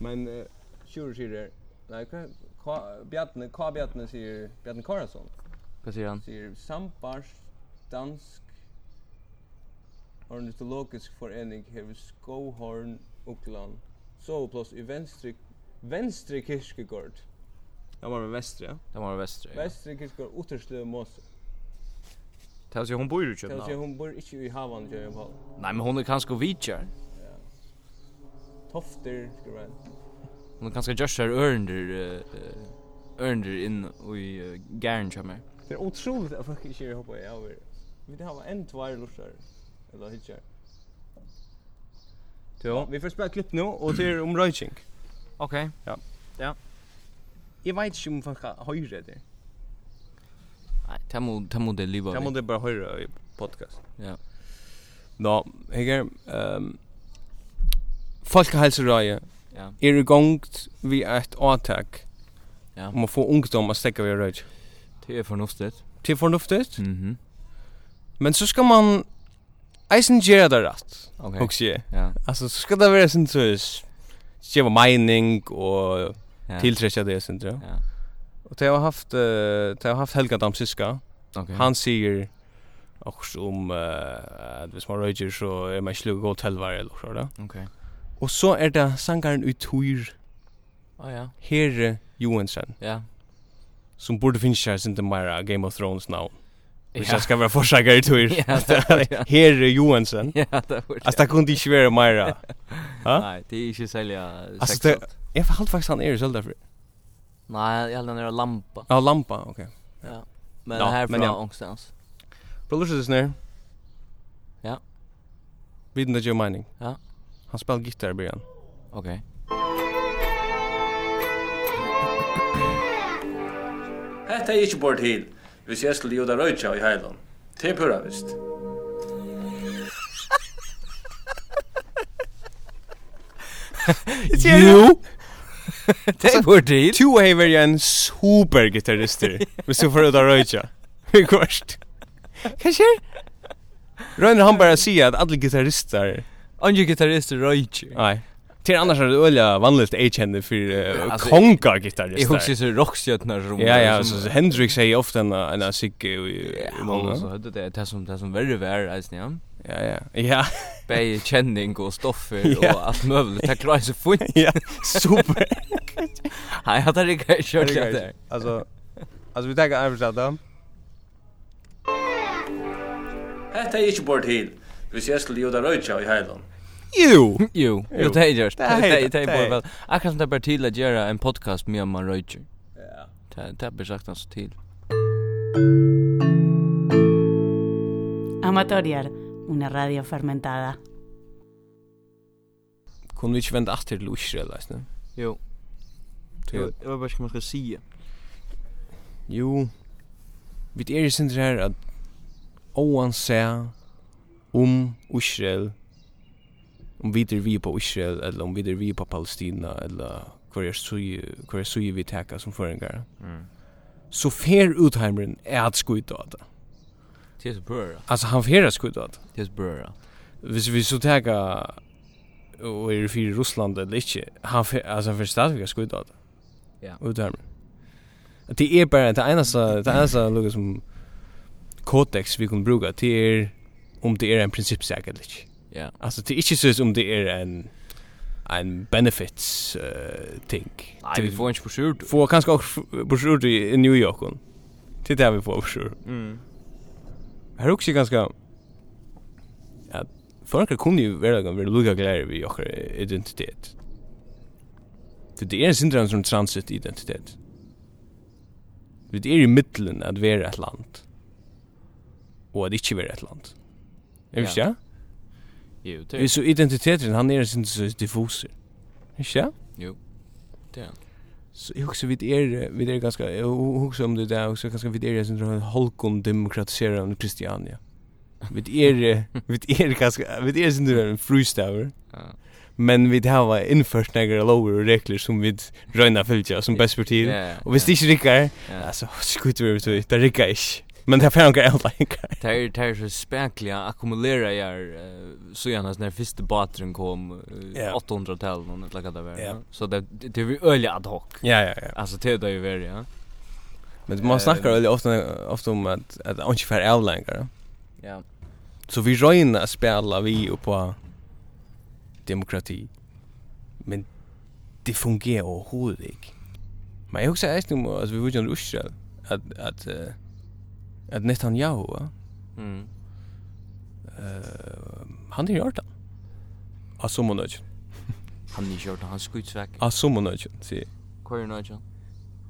Speaker 3: Men uh, Sjur sier Nei, hva, hva, Bjarne, hva Bjarne sier Bjarne Karasson
Speaker 4: Hva sier han?
Speaker 3: sier Sambars dansk ornitologisk forening hever Skåhorn Ukland soveplass i venstre venstre kirkegård Det var med vestre, ja.
Speaker 4: Det var vestre. Ja.
Speaker 3: Vestre kirkegård, Utterslø Måse.
Speaker 4: Det sier hun bor i
Speaker 3: Det vil si,
Speaker 4: København.
Speaker 3: hun bor ikke i havan, Jørgen Paul.
Speaker 4: Nei, men hun er kanskje vidtjær.
Speaker 3: Tofter, skriver han.
Speaker 4: Hun er kanskje gjørs her ørender, uh, ørender inn i uh, gæren kommer.
Speaker 3: Det er otroligt at folk ikke er hoppa i over. Vi har en tvær lursar, eller hitjar. Ja, vi får spela klipp nu och det är er om röjting.
Speaker 4: Ok.
Speaker 3: Jag vet inte om folk höjre det.
Speaker 4: Nei, det må, det må det livet.
Speaker 3: Jag måste bara höra i podcast.
Speaker 4: Ja.
Speaker 3: Nå, Heger, um, Folkhälsorøye
Speaker 4: Ja.
Speaker 3: er i gang vi et avtak
Speaker 4: Ja.
Speaker 3: om å få ungdom å stekke ved røyk.
Speaker 4: Det er fornuftet.
Speaker 3: Til fornuftet,
Speaker 4: Mhm.
Speaker 3: men så skal man eisen gjøre det rett,
Speaker 4: Ok.
Speaker 3: okay. jeg.
Speaker 4: Ja.
Speaker 3: Alltså så ska det vara sånt så ge var mining och
Speaker 4: ja.
Speaker 3: tillträcka det sånt ja.
Speaker 4: Ja.
Speaker 3: Och det har haft eh, det har haft Helga Damsiska.
Speaker 4: Ok.
Speaker 3: Han säger också om eh att hvis man röjer så är man slug gå till varje eller så där.
Speaker 4: Ok.
Speaker 3: Och så är det sangaren Utur
Speaker 4: Ah, ja.
Speaker 3: Herre Johansen
Speaker 4: Ja.
Speaker 3: som borde finnas här sin Mara Game of Thrones now. Vi
Speaker 4: Ja.
Speaker 3: ska ska vara försöka i tur.
Speaker 4: Ja, det var det.
Speaker 3: Herre Johansen.
Speaker 4: Ja, det var det.
Speaker 3: Alltså det kunde inte vara Mara. Ja.
Speaker 4: Nei, det er ikke særlig uh,
Speaker 3: Alltså,
Speaker 4: sexet.
Speaker 3: Jag har faktiskt han är i Zelda för.
Speaker 4: Nei, jeg held den er lampa.
Speaker 3: Ja, lampa, okej. Okay.
Speaker 4: Men
Speaker 3: Ja,
Speaker 4: herfra
Speaker 3: men ja.
Speaker 4: ångstens.
Speaker 3: Brothers is nær.
Speaker 4: Ja.
Speaker 3: Viden det Joe Mining.
Speaker 4: Ja.
Speaker 3: Han spelar gitarr i början.
Speaker 4: Ok.
Speaker 5: Hetta er ikki bort til, hvis jeg skulle gjøre røytja i heilan. Det er pura vist.
Speaker 3: Jo,
Speaker 4: Det er vår tid.
Speaker 3: to hever ju en super gitarrister. Vi så för att röja. Vi kvart. Kanske? Rönner han bara säga att alla gitarrister...
Speaker 4: Andre er gitarrister røyk.
Speaker 3: Nej. Till annars är det öliga vanligt A-kände för uh,
Speaker 4: Alltså,
Speaker 3: konga
Speaker 4: Jeg husker
Speaker 3: gitarrister.
Speaker 4: så rockstjøtner som...
Speaker 3: Ja, ja,
Speaker 4: som-
Speaker 3: så Hendrix säger ofta en en sick
Speaker 4: Ja,
Speaker 3: i
Speaker 4: og så
Speaker 3: många.
Speaker 4: høyde det det som det som verre vær, eisen, ja.
Speaker 3: Ja, ja. Ja,
Speaker 4: Begge kjenning og stoffer
Speaker 3: Ja.
Speaker 4: og alt møvlig. Det klarer jeg så fint.
Speaker 3: ja. Super.
Speaker 4: Nei, jeg hadde ikke kjørt
Speaker 3: er
Speaker 4: det der.
Speaker 3: Alltså Alltså vi tar en översättning.
Speaker 5: Hetta er ikki bort til, hvis jeg skulle gjøre røytja i heilan.
Speaker 3: Jo.
Speaker 4: Jo,
Speaker 3: Jo.
Speaker 4: jo, det er gjort.
Speaker 3: Det
Speaker 4: Det
Speaker 3: er
Speaker 4: er
Speaker 3: helt-
Speaker 4: det er
Speaker 3: det er-
Speaker 4: bare vel. Akkurat som det er bare til å gjøre en podcast med om man røyker.
Speaker 3: Ja.
Speaker 4: Det det er bare sagt hans til.
Speaker 1: Amatoriar, una radio fermentada.
Speaker 3: Kunne vi ikke vente etter til Israel, leis, ne?
Speaker 4: Jo.
Speaker 3: Til-
Speaker 6: Jag jag vet bara ska man ska säga.
Speaker 3: Jo, vi er i sindri her at oan se om Israel, om vi er vi på Israel, eller om vi er vi på Palestina, eller hver er sui, hver er sui vi teka som føringar,
Speaker 4: Mm.
Speaker 3: så fer utheimeren er at skuita av det.
Speaker 4: Det är så bra.
Speaker 3: Altså, han fer at skuita av det.
Speaker 4: Det är så bra.
Speaker 3: Hvis vi så teka og er fyrir Russland eller ikkje, han fer, altså, han fer stadigvæk at skuita av det.
Speaker 4: Ja.
Speaker 3: Utheimeren. Det er bare det eneste, det eneste lukka som kodex vi kunne bruka, det er om det er en prinsippsak eller ikkje.
Speaker 4: Ja.
Speaker 3: Alltså det är inte så som det är en en benefits uh, ting.
Speaker 4: Nej, vi får inte försurt.
Speaker 3: få kanske också brosjur i i New York. Det är där vi får brosjur.
Speaker 6: Mm.
Speaker 3: Här är också ganska er att folk kunde ju vara ganska lugga glädje vid och identitet. För det är en syndrom som transit identitet. Vi är i mitten att vara ett land. Och att inte vara ett land. Är vi
Speaker 4: Ja. er-
Speaker 3: inte? Ja.
Speaker 4: Jo, det
Speaker 3: Det är
Speaker 4: är
Speaker 3: så identiteten, han är sin så diffus. Ikke Er ja?
Speaker 4: Jo. Det är han.
Speaker 3: Så jag också vid er, vid er ganska, um jag också om det där också ganska vid er sin holkon demokratiserande um Kristiania. Vid er, vid er ganska, vid er sin en freestyler.
Speaker 4: Ja.
Speaker 3: Men vid hava innført några lower och regler som vid röjna fylgja som bäst för tid.
Speaker 4: Ja,
Speaker 3: Och visst det inte rikkar,
Speaker 4: ja.
Speaker 3: alltså skut vi över till, det rikkar inte. Men det är fan några äldre rikkar.
Speaker 4: Det är det är så späckliga ackumulera jag så gärna när första bateren kom eh,
Speaker 3: Ja.
Speaker 4: 800-talet någon eller vad det
Speaker 3: Ja.
Speaker 4: var. Så det det vi öliga er ad hoc.
Speaker 3: Ja, ja, ja.
Speaker 4: Alltså er det är det ju väl ja.
Speaker 3: Men man
Speaker 4: Eh,
Speaker 3: snackar väldigt ofta, ofta um om att, att han inte fär äldre längre.
Speaker 4: Ja.
Speaker 3: Så vi röjna spela vi och på demokrati. Men det fungerar overhovedet ikke. Men jag också är inte om att vi vill ju ruscha att att eh, att Netanyahu
Speaker 4: Mm.
Speaker 3: eh han det gör det. Asomonoj.
Speaker 4: Han är kört han skjuts väck.
Speaker 3: Ah. Asomonoj. Se.
Speaker 4: Kör nu John.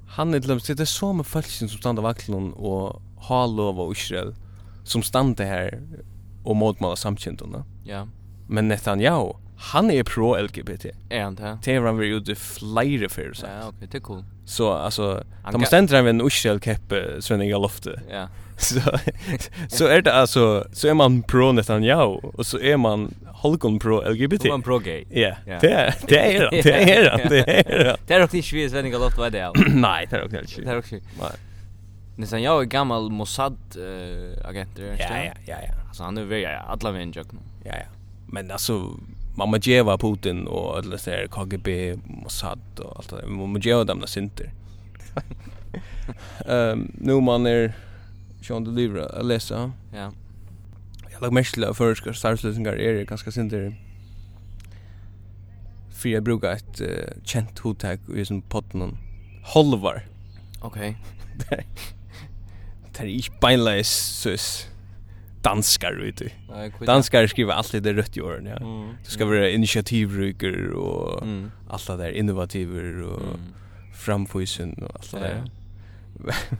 Speaker 3: Han är lämst det är så med folk som stannar vaklen och har lov av Israel som stannar här och motmalar samkyndarna.
Speaker 4: Ja.
Speaker 3: Men Netanyahu, han er är pro LGBT.
Speaker 4: Är Er han det?
Speaker 3: Det har han varit ute flere fyrir seg.
Speaker 4: Ja, okej, det är cool.
Speaker 3: Så alltså,
Speaker 4: Han
Speaker 3: de man
Speaker 4: ga-
Speaker 3: ständer han vid en Ushel-keppe Svenninga loftet.
Speaker 4: Ja.
Speaker 3: Så, så är det alltså, så är man er pro Netanyahu och så är man Holkon pro LGBT.
Speaker 4: Då var han pro gay.
Speaker 3: Ja, er,
Speaker 4: Ja.
Speaker 3: det är det är han, det är han, det är han.
Speaker 4: Det är också inte vi svenska låt vad det är.
Speaker 3: Nej, det är också
Speaker 4: Det er är
Speaker 3: inte.
Speaker 4: också.
Speaker 3: Nej.
Speaker 4: Nästan jag är gammal Mossad eh agent där.
Speaker 3: Ja, ja, ja, ja,
Speaker 4: Alltså han er är väl ja, alla vem jag.
Speaker 3: ja, ja. Men alltså, man må geva Putin och alla så här KGB, Mossad och allt det där. Man må geva dem där synter. Ehm, nu man är Sean Delivra, jag läser.
Speaker 4: Ja.
Speaker 3: Jag lag mest av förska starslösningar är ganska synder. För jag brukar ett uh, känt hotag i som potten Holvar.
Speaker 4: Okej.
Speaker 3: Det är inte beinleis sus danskar vet du.
Speaker 4: Nej, skit.
Speaker 3: Danskar skriver alltid det rött i åren, ja.
Speaker 4: Eh, Mm.
Speaker 3: Du ska vara initiativryker och
Speaker 4: Mm.
Speaker 3: allt det där innovativer och
Speaker 4: Mm. Eh,
Speaker 3: framfysen och allt det
Speaker 4: Ja,
Speaker 3: där.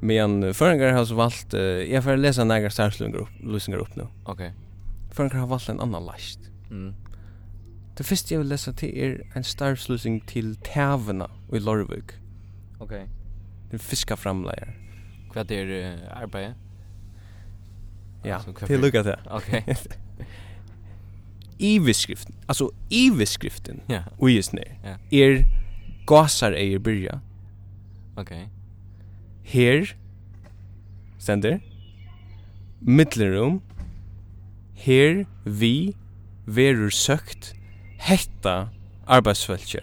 Speaker 3: Men förringar har så valt, eh, jag får läsa några starslösningar upp, lösningar upp nu.
Speaker 4: Okej.
Speaker 3: Förringar har valt en annan last.
Speaker 4: Mm.
Speaker 3: Det første jeg vil lese til er en starvsløsning til Tævena i Lorvøk.
Speaker 4: Okej.
Speaker 3: Den fiskaframleier.
Speaker 4: Vad är er det arbete?
Speaker 3: Ja,
Speaker 4: Altså, hva er
Speaker 3: til
Speaker 4: for-
Speaker 3: lukka det.
Speaker 4: Okej.
Speaker 3: Iveskriften, altså iveskriften,
Speaker 4: Ja.
Speaker 3: uisne,
Speaker 4: Ja.
Speaker 3: er gasar eier byrja.
Speaker 4: Okej.
Speaker 3: Her, sender, middelrum, her, vi, verur søkt, hetta arbeidsfæltjer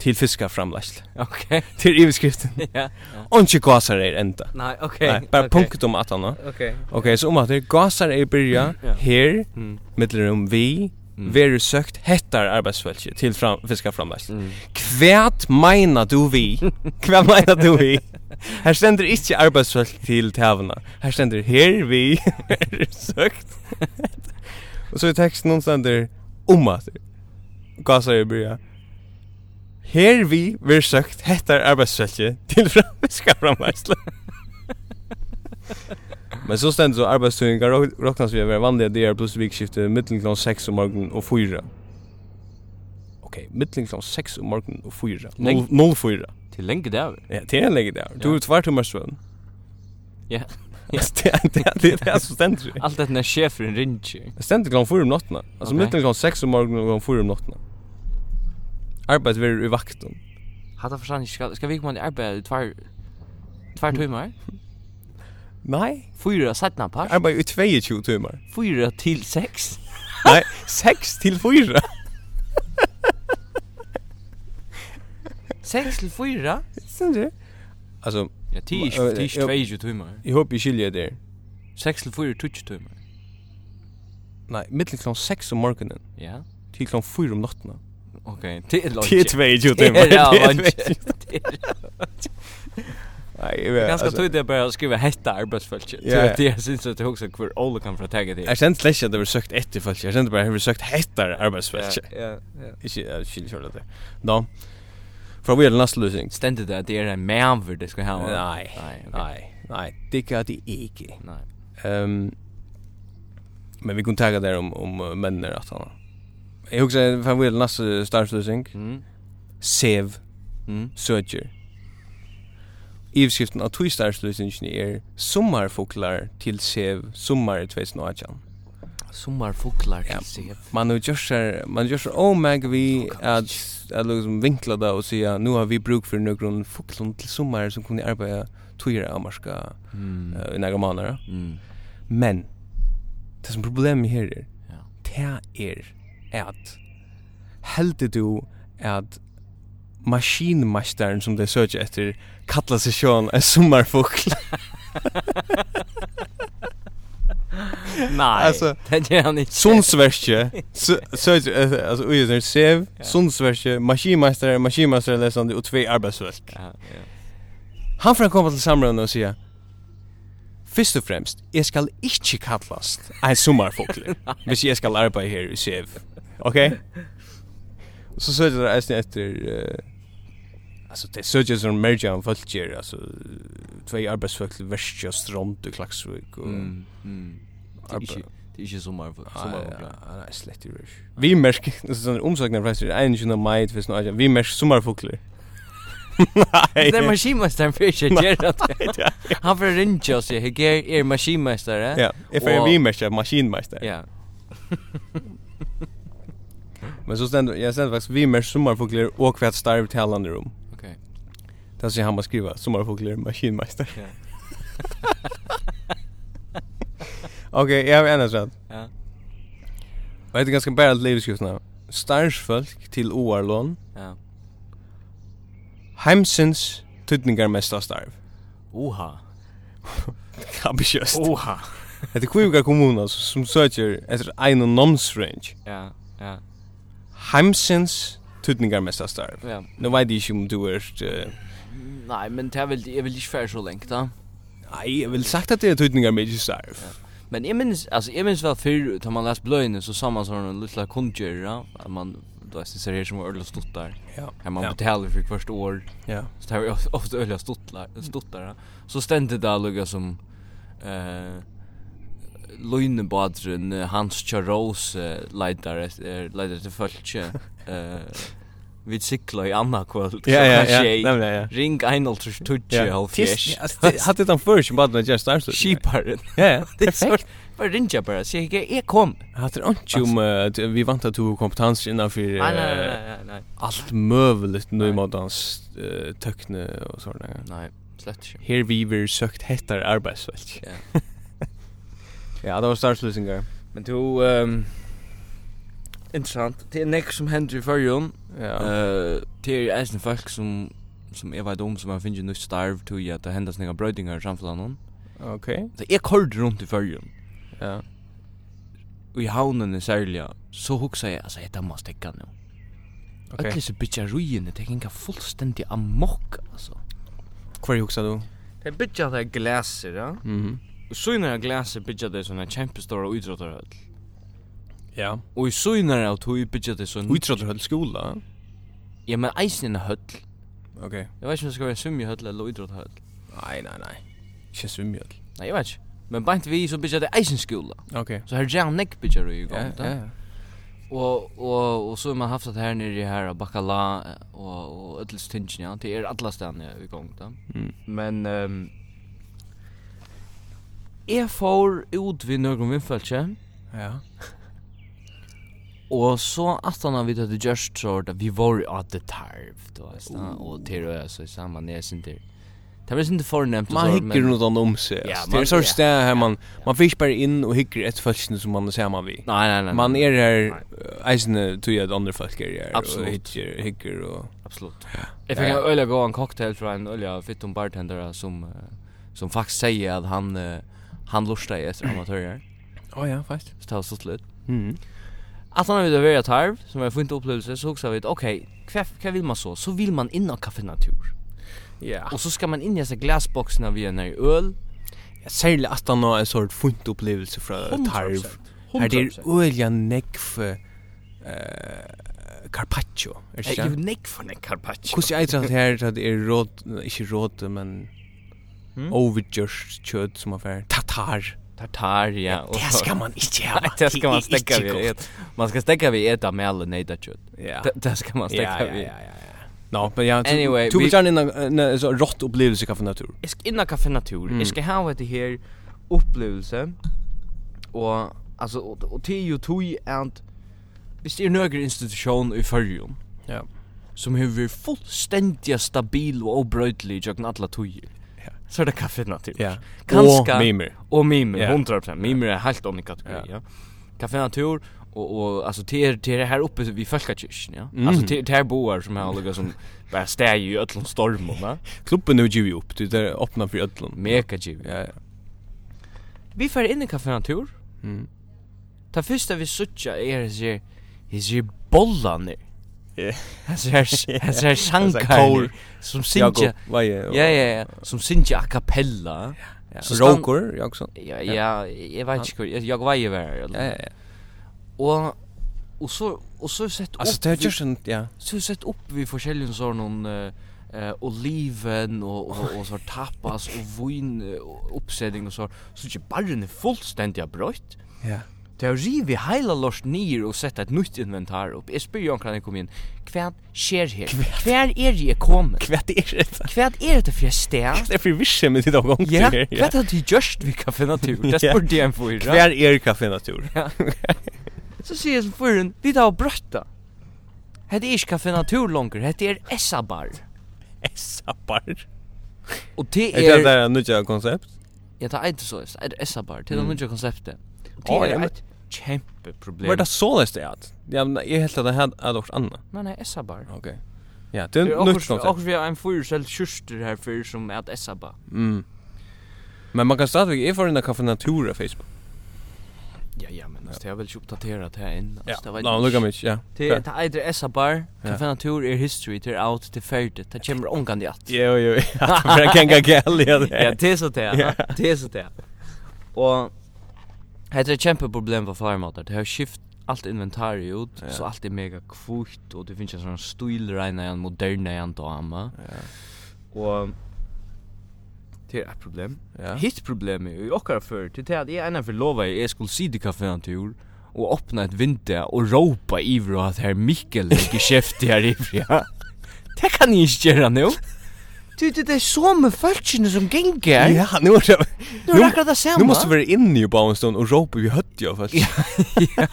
Speaker 3: til fiskaframleisle.
Speaker 4: Okej.
Speaker 3: Til iveskriften.
Speaker 4: Ja.
Speaker 3: Onki gasar eier er enda.
Speaker 4: Nej, okej.
Speaker 3: Nei, bare
Speaker 4: okej.
Speaker 3: punktum at han
Speaker 4: Okej.
Speaker 3: Ok, så om at det gasar er byrja
Speaker 4: Ja.
Speaker 3: her,
Speaker 4: Mm.
Speaker 3: mittlerum vi,
Speaker 4: Mm.
Speaker 3: veru søkt hettar arbeidsfeltje til fram, fiska framleislen.
Speaker 4: Mm.
Speaker 3: Kvært meina du vi? Kvært meina du vi? Her stender ikkje arbeidsfeltje til tævna. Her stender her vi, veru søkt. Og så i teksten hon stender om at gasar er byrja. Her vi, veru søkt hettar arbeidsfeltje til fram, fiska framleislen. Men så stendt så arbeidstunningar um råknas vi over vanliga DR plus vikskifte mittel klokkan um 6 om morgonen og 4. Og okej, mittling klockan 6 om morgonen och 4.
Speaker 4: Nej.
Speaker 3: 04.
Speaker 4: Till länge där.
Speaker 3: Ja, det är en läge där. Du er
Speaker 4: Ja.
Speaker 3: är två timmar sömn.
Speaker 4: Ja.
Speaker 3: Ja, det är det är- det är så ständigt. ju.
Speaker 4: Allt det när chefen ringer.
Speaker 3: Det er ständigt klockan 4 om natten. Alltså
Speaker 4: Okej.
Speaker 3: mittling klockan 6 om morgonen och klockan 4 om natten. Arbetet vi i vakten.
Speaker 4: Hade förstått ska ska vi komma till arbete i två två timmar?
Speaker 3: Nej,
Speaker 4: Fyra sättna pass.
Speaker 3: arbetet i 22 timmar.
Speaker 4: Fyra till sex.
Speaker 3: Nej, 6 till 4.
Speaker 4: Sex till fyra?
Speaker 3: Syns du? Alltså,
Speaker 4: Ja,
Speaker 3: Ja,
Speaker 4: tio tio
Speaker 3: ja.
Speaker 4: tjugo timmar.
Speaker 3: jag hoppas jag skiljer det där.
Speaker 4: Sex till fyra tjugo timmar.
Speaker 3: Nej, mittling klockan 6 om morgonen
Speaker 4: Ja.
Speaker 3: till klockan 4 om natten.
Speaker 4: Okej. Det är långt.
Speaker 3: Det är 22
Speaker 4: Det er
Speaker 3: timmar.
Speaker 4: är
Speaker 3: är
Speaker 4: långt.
Speaker 3: 22.
Speaker 4: er
Speaker 3: Nej, jag vet.
Speaker 4: Ganska
Speaker 3: alltså,
Speaker 4: tydligt att börja skriva hetta arbetsfältet.
Speaker 3: Ja, ja.
Speaker 4: Ja. Det är syns att det också kvar Ola kan få tagga det.
Speaker 3: Jag kände inte lätt att det var sökt efter falsk. Jag kände bara att det var sökt hettar arbetsfälsk.
Speaker 4: Ja, ja.
Speaker 3: Ikke, jag skiljer kört det. Då. För vi er är nästa lösning.
Speaker 4: Ständigt att det är en manver det ska ha.
Speaker 3: Nej,
Speaker 4: Nej. okej.
Speaker 3: nej, nej. Det kan det inte.
Speaker 4: Nej.
Speaker 3: Ehm men vi kunde tagga där om om eh, männen att han. Jag husker fan vi er är nästa starslösning.
Speaker 4: Mm.
Speaker 3: Sev
Speaker 4: Mm.
Speaker 3: Söger. Ivskriften av Twistarslusingen er Sommarfoklar til Sev Sommar 2018.
Speaker 4: Sommarfåglar
Speaker 3: Ja.
Speaker 4: till sev.
Speaker 3: Man har gjort sig, man gör sig omag vi at, at liksom vinkla det og sige nu har vi bruk for noen foklund til sommar som kunne arbeida tøyre av marska
Speaker 4: Mm.
Speaker 3: uh, i nægra månader.
Speaker 4: Mm.
Speaker 3: Men, det som problemet her er,
Speaker 4: Ja.
Speaker 3: det er at heldur du at maskinmasteren som det søker etter kallar seg sjån en sommarfugl.
Speaker 4: Nej.
Speaker 3: Alltså,
Speaker 4: det är han inte.
Speaker 3: Sundsverkje, søker etter, altså ui, det er sev,
Speaker 4: Ja.
Speaker 3: Sundsverkje, maskinmasteren, maskinmasterlesande og tvei arbeidsvøk.
Speaker 4: Ja, ja.
Speaker 3: Han får komme til samrøvende og sige, Fyrst og fremst, jeg skal ikke kallast en sommerfugler, hvis jeg skal arbeide her i Sev. Ok? Så søker det eisen etter, uh, altså det søker som merger av folkjer, altså tvei arbeidsfolk til Vestja, Strond og Klaksvik og Ah,
Speaker 4: Mm. Mm. Det är inte det är inte sommarfåglar. Sommarfåglar.
Speaker 3: Nei, slett i rush. Vi merk, sånn omsakna fra Vestja, 21. mai, 2018, vi merk sommerfugler. Nei,
Speaker 4: Det är maskinmästaren för sig
Speaker 3: Nej.
Speaker 4: gör det. Han får ringa och säga, "Hej, är er maskinmästare?"
Speaker 3: Ja, if I
Speaker 4: Og-
Speaker 3: vi merk, maskinmeister.
Speaker 4: Ja.
Speaker 3: Men så ständ jag ständ faktiskt vi mer sommarfåglar och kvätt starv um. talande rum.
Speaker 4: Okej.
Speaker 3: Där ser han bara skriva sommarfåglar maskinmästare.
Speaker 4: Ja.
Speaker 3: Okej, jag har en rätt.
Speaker 4: Ja.
Speaker 3: Vad heter ganska bärande livskrifterna? Starsfolk till Oarlån.
Speaker 4: Ja.
Speaker 3: Heimsins tydningar mesta starv.
Speaker 4: Oha.
Speaker 3: Ambitiöst.
Speaker 4: Oha.
Speaker 3: Det är kviga kommuner som söker efter en nomsrange.
Speaker 4: Ja, ja.
Speaker 3: Heimsins tydningar mesta starv.
Speaker 4: Ja.
Speaker 3: Nu vet jag inte om du är... eh,
Speaker 4: Nej, men det är väl jag vill inte färd så länge då.
Speaker 3: Nej, jag vill sagt att det är tydningar mesta starv.
Speaker 4: Men jag minns alltså jag minns väl förr när man läste blöjne så sa man sån en lilla kundgöra att man då är det så här som öl stått där.
Speaker 3: Ja.
Speaker 4: Här man
Speaker 3: Ja.
Speaker 4: betalar för först år.
Speaker 3: Ja.
Speaker 4: Så det här var ju ofta öl stått där, stått där. Så stände det där lugga som eh Lönebadren Hans Charos leitar leitar till eh, fölke. Eh vi cyklar i annan kväll.
Speaker 3: Ja, ja, ja. Nämligen, ja.
Speaker 4: Ring Einolters Tutje
Speaker 3: Ja.
Speaker 4: halv
Speaker 3: Fyrst,
Speaker 4: fjärs.
Speaker 3: hade det han först som bara just där så.
Speaker 4: Skiparen.
Speaker 3: Ja, ja.
Speaker 4: Det är så. Bara ringa bara. Säg jag är kom.
Speaker 3: Hade det inte om eh, att vi vant att du kompetens innan för
Speaker 4: Nej, nej, nej,
Speaker 3: eh,
Speaker 4: nej, nej.
Speaker 3: allt möjligt nu
Speaker 4: Nej.
Speaker 3: mot hans eh, töckne och sådana.
Speaker 4: Nej, slett inte.
Speaker 3: Här vi vill sökt hettar arbetsfält.
Speaker 4: Ja.
Speaker 3: Ja, det var starslösningar.
Speaker 4: Men du ehm intressant. Det är nästa som händer i förrjun.
Speaker 3: Ja.
Speaker 4: Eh, det är eisen folk som som jag vet om som man finner nu starv till att det händer snäga brödingar i samfällan.
Speaker 3: Okej.
Speaker 4: Så jag körde runt i förrjun.
Speaker 3: Ja.
Speaker 4: Och i havnen i Särlja så huxar jag alltså detta måste täcka nu. Okay.
Speaker 3: Okej.
Speaker 4: Öklis i bitcha ruin, det kan fullständigt amok alltså.
Speaker 3: Kvar huxar du?
Speaker 4: Det är bitcha det glaser, ja.
Speaker 3: Mhm.
Speaker 4: Och så innan glaser bitcha det såna kämpestora idrottare.
Speaker 3: Ja.
Speaker 4: Og i søgnar av tog bytja det sånn
Speaker 3: Utrottar Mm. höll skola.
Speaker 4: Ja, men eisen er høll
Speaker 3: Okej.
Speaker 4: Jeg vet ikke om det skal være svimmi høll eller idrott høll
Speaker 3: Nej, nej, nej. Känns vi mjöl.
Speaker 4: Nei, jeg vet ikke Men beint vi så bytja det eisen skola
Speaker 3: Okej.
Speaker 4: Så her er nek bytja du i gang
Speaker 3: Ja,
Speaker 4: da.
Speaker 3: ja.
Speaker 4: Og, og, og så har man haft det her nere i her, og bakala, og, og ödels tingen, ja. Det er alle stedene i gang, da.
Speaker 3: Mm.
Speaker 4: Men, um, jeg får ut vid noen vinnfølse,
Speaker 3: Ja.
Speaker 4: og så at han har vidt at det gjørst så at vi var i at det tarv, du veist, da. Og til og jeg, så sammen, jeg synes det. Det var ikke fornemt. og
Speaker 3: Man
Speaker 4: så,
Speaker 3: hikker
Speaker 4: men-
Speaker 3: något om om sig.
Speaker 4: Ja,
Speaker 3: alltså.
Speaker 4: man-
Speaker 3: det er är så
Speaker 4: ja.
Speaker 3: stä här man man fick bara in och hikker ett fältsne som man ser man vi.
Speaker 4: Nei, nei, nei.
Speaker 3: Man er eh,
Speaker 4: nei.
Speaker 3: är här eisne tror jag att andra folk är här och
Speaker 4: Absolut.
Speaker 3: hikker hikker och
Speaker 4: Absolut. Jag fick en
Speaker 3: Ja.
Speaker 4: öliga gå en cocktail från en öliga fitton bartender som eh, som faktiskt säger att han eh, han lustar i efter amatörer.
Speaker 3: Ja ja, fast.
Speaker 4: Så det har stått lite.
Speaker 3: Mm.
Speaker 4: Att han har vid över tarv som är en fint upplevelse så också vet okej, okay, vad vill man så? Så vill man in och kaffe natur.
Speaker 3: Ja.
Speaker 4: Och så ska man in i dessa glasboxarna vid en öl.
Speaker 3: Särskilt att han har en sort funt upplevelse från tarv.
Speaker 5: 100%.
Speaker 3: Här det er är öliga nekv eh carpaccio. Är det
Speaker 4: Jag
Speaker 3: inte?
Speaker 4: vill nick för en carpaccio.
Speaker 3: Kus jag tror att här att det är råd, inte råd men
Speaker 4: Mm.
Speaker 3: overjust kött som affär. Tatar.
Speaker 4: Tartar ja. och-
Speaker 3: Det ska man inte ha.
Speaker 4: Nej, det ska man stäcka
Speaker 3: Inte gott.
Speaker 4: vid. ett- Man ska stäcka vid äta med alla nejda kött.
Speaker 3: Ja.
Speaker 4: Det- Det ska man stäcka vid.
Speaker 3: ja. No, men ja,
Speaker 4: Anyway,
Speaker 3: du
Speaker 4: vi-
Speaker 3: vill gärna en en så rått upplevelse kaffe natur.
Speaker 4: jag ska innan kaffe natur.
Speaker 3: Mm.
Speaker 4: Jag ska ha det här upplevelse. Och alltså och, och det är ju tog att visst är några institution i förrjun
Speaker 3: Ja.
Speaker 4: som har varit fullständigt stabil och obrötlig jag kan alla tog.
Speaker 3: Ja.
Speaker 4: Så är det kaffe natur.
Speaker 3: Ja.
Speaker 4: Kanska
Speaker 3: Och mimer.
Speaker 4: och mimer
Speaker 3: Ja.
Speaker 4: 100%. Mimer är helt annan kategori,
Speaker 3: Ja.
Speaker 4: ja. Kaffe natur och och alltså det är det är här uppe vid Falkakirchen, ja.
Speaker 3: Mm.
Speaker 4: Alltså det det här boar som har lugga som bara stäjer i öllum stormarna.
Speaker 3: Klubben nu ju upp. Det är öppna för ödlan.
Speaker 4: Mega giv.
Speaker 3: Ja ja.
Speaker 4: Vi fer inn i Café Natur.
Speaker 3: Mm.
Speaker 4: Ta fyrsta vi suttja er hesir hesir bollanir.
Speaker 3: Ja.
Speaker 4: Hesir hesir
Speaker 3: kår.
Speaker 4: sankarnir som syngja.
Speaker 3: Jakob, vad är?
Speaker 4: Ja ja ja, som syngja a cappella. Så stan-
Speaker 3: Roker, Jackson.
Speaker 4: Ja ja, eg veit ikki kvar. Jag var ju där.
Speaker 3: Ja ja. ja.
Speaker 4: Och och så och så sett upp.
Speaker 3: Alltså det är just en ja.
Speaker 4: så sett upp vi forskjellige sånn noen eh oliven og og, og så tapas og vin eh, og oppsetting og så så ikke barren er fullstendig brøtt.
Speaker 3: Ja.
Speaker 4: Det har rivi er heila lort nir og sett et nytt inventar opp. Jeg spyr jo omkring jeg kom inn. Hva skjer her? Hva er jeg kommet?
Speaker 3: Kvätt är det.
Speaker 4: Hva er dette for et sted?
Speaker 3: Det är för visse med det gång
Speaker 4: Ja, hva er det just vi kan finne til? Det
Speaker 3: Ja.
Speaker 4: spurte jeg en fyra.
Speaker 3: Kvar är kaffe natur.
Speaker 4: Så sier jeg som fyren, vi tar og brøtta. Hette er ikke kaffe natur langer, hette er Essabar.
Speaker 3: Sappar.
Speaker 4: Og det
Speaker 3: Är det
Speaker 4: er...
Speaker 3: där nya koncept?
Speaker 4: Ja, det er ikke så, det er Essabar, det er det nye konseptet. Og
Speaker 3: Å,
Speaker 4: Det
Speaker 3: Mm. ja,
Speaker 4: er
Speaker 3: men-
Speaker 4: et kjempeproblem.
Speaker 3: Var det så läst det att? Ja, men jag helt att det här är dock annat.
Speaker 4: Nei, nei, Essabar.
Speaker 3: Okej. Ja, det är
Speaker 4: Det er
Speaker 3: nytt
Speaker 4: akkurat
Speaker 3: koncept.
Speaker 4: akkurat vi har en fyr selv kjørster her fyr som er et Essabar.
Speaker 3: Mm. Men man kan stadigvæk, jeg får en kaffe natur av Facebook.
Speaker 4: Ja, ja, men altså, det er vel ikke oppdateret her inn.
Speaker 3: Ja,
Speaker 4: Altså, det
Speaker 3: la lukka mig, ja.
Speaker 4: Det er det eitre Essa bar,
Speaker 3: Ja.
Speaker 4: Café Natur er history, det er out, det er ferdig, det kommer ångan i at.
Speaker 3: Jo, jo, ja, det var en ganga gæl, ja, det
Speaker 4: Ja,
Speaker 3: er.
Speaker 4: det er så det,
Speaker 3: Ja.
Speaker 4: ja, det er så det. Og det er et kjempeproblem for farmater, det har skift alt inventari ut,
Speaker 3: Ja.
Speaker 4: så alt er mega kvitt, og det finnes en sånn stilreina igjen, moderne igjen dama. Og det er et problem.
Speaker 3: Ja.
Speaker 4: Hitt problemet i okkar før, til det at jeg ennå for lova er, jeg skulle sida kaffe en tur, og åpna et vindu og råpa iver og at herr Mikkel er ikke kjeftig her iver, ja. Det kan jeg ikke gjøre nå. Du, det er så med følelsene som ganger.
Speaker 3: Ja, nu er det...
Speaker 4: Nu er det akkurat det samme.
Speaker 3: Nu måste vi være inne i Bauenstone og råpe vi høtt jo, faktisk. Ja,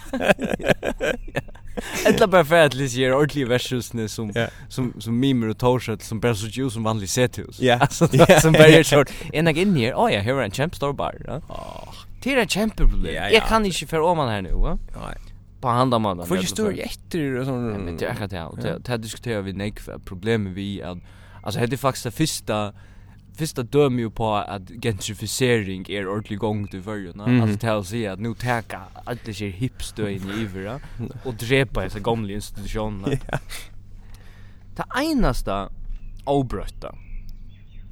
Speaker 4: Etla bare for at Liss gjør ordentlige versusene som,
Speaker 3: Ja.
Speaker 4: som, som mimer og torsett, som bare så jo som vanlig sethus.
Speaker 3: Ja.
Speaker 4: Altså,
Speaker 3: Ja.
Speaker 4: som bare er sånn, en dag inn her, åja, her var en kjempestor bar, ja. Det er et kjempeproblem.
Speaker 3: Ja, ja.
Speaker 4: Jeg kan ikke føre om han her nå, ja.
Speaker 3: Nei.
Speaker 4: På handamandan.
Speaker 3: Får ikke stå i etter og
Speaker 4: Ja, men
Speaker 3: sånn...
Speaker 4: det är akkurat det. Och det- Det här diskuterar vi nekva. Problemet vi är att... Alltså det är faktiskt det första... Första dömer ju på att gentrificering är ordentlig gång till förrjuna.
Speaker 3: Mhm.
Speaker 4: Alltså det här att säga att nu täcka alla sig hipstöjen i Ivra och drepa dessa gamla institutionerna. Det enaste obrötta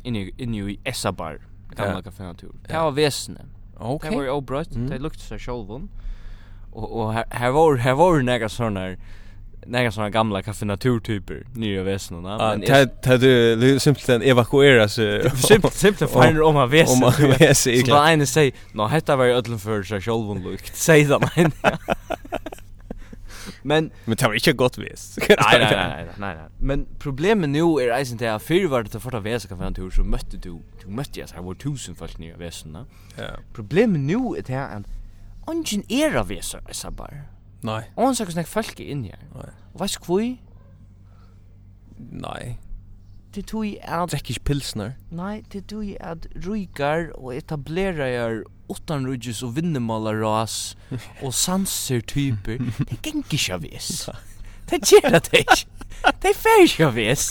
Speaker 4: inne i- inne i Essabar, gamla
Speaker 3: Ja.
Speaker 4: Café Natur. Det
Speaker 3: Ja.
Speaker 4: var väsnet.
Speaker 3: Ok.
Speaker 4: Det var ju obrött,
Speaker 3: Mm.
Speaker 4: det luktade sig självon. Och och här, här var här var några såna några såna gamla kaffenaturtyper nya väsnorna
Speaker 3: Ja, det er simpelthen evakueras... eh,
Speaker 4: simpelt simpelt finer om av
Speaker 3: Om
Speaker 4: väsen.
Speaker 3: man är sig
Speaker 4: Så då ene säger, "Nå hetta var ju ödlan för sig självon lukt." Säg det men. Men
Speaker 3: Men det var ikke godt vist.
Speaker 4: Nei, nei, nei, nei, nei, nei. Men problemet nu er eisen til at fyrir var det til forta vesa kaffe en tur, så møtte du, du møtte jeg, så her var tusen folk nye vesene.
Speaker 3: Ja.
Speaker 4: Problemet nu er til at ungen er av vesa, eisa bare.
Speaker 3: Nei.
Speaker 4: Og han sier hvordan folk er inni her.
Speaker 3: Nei.
Speaker 4: Og veist kvui,
Speaker 3: Nei.
Speaker 4: det tog at,
Speaker 3: Drekk ikke pilsner.
Speaker 4: nei, det tog at rykar og etablerar utan rujus og vinnemålar ras og sanser typer, det geng ikke av vis. Det gjør det ikke. Det er fer ikke av vis.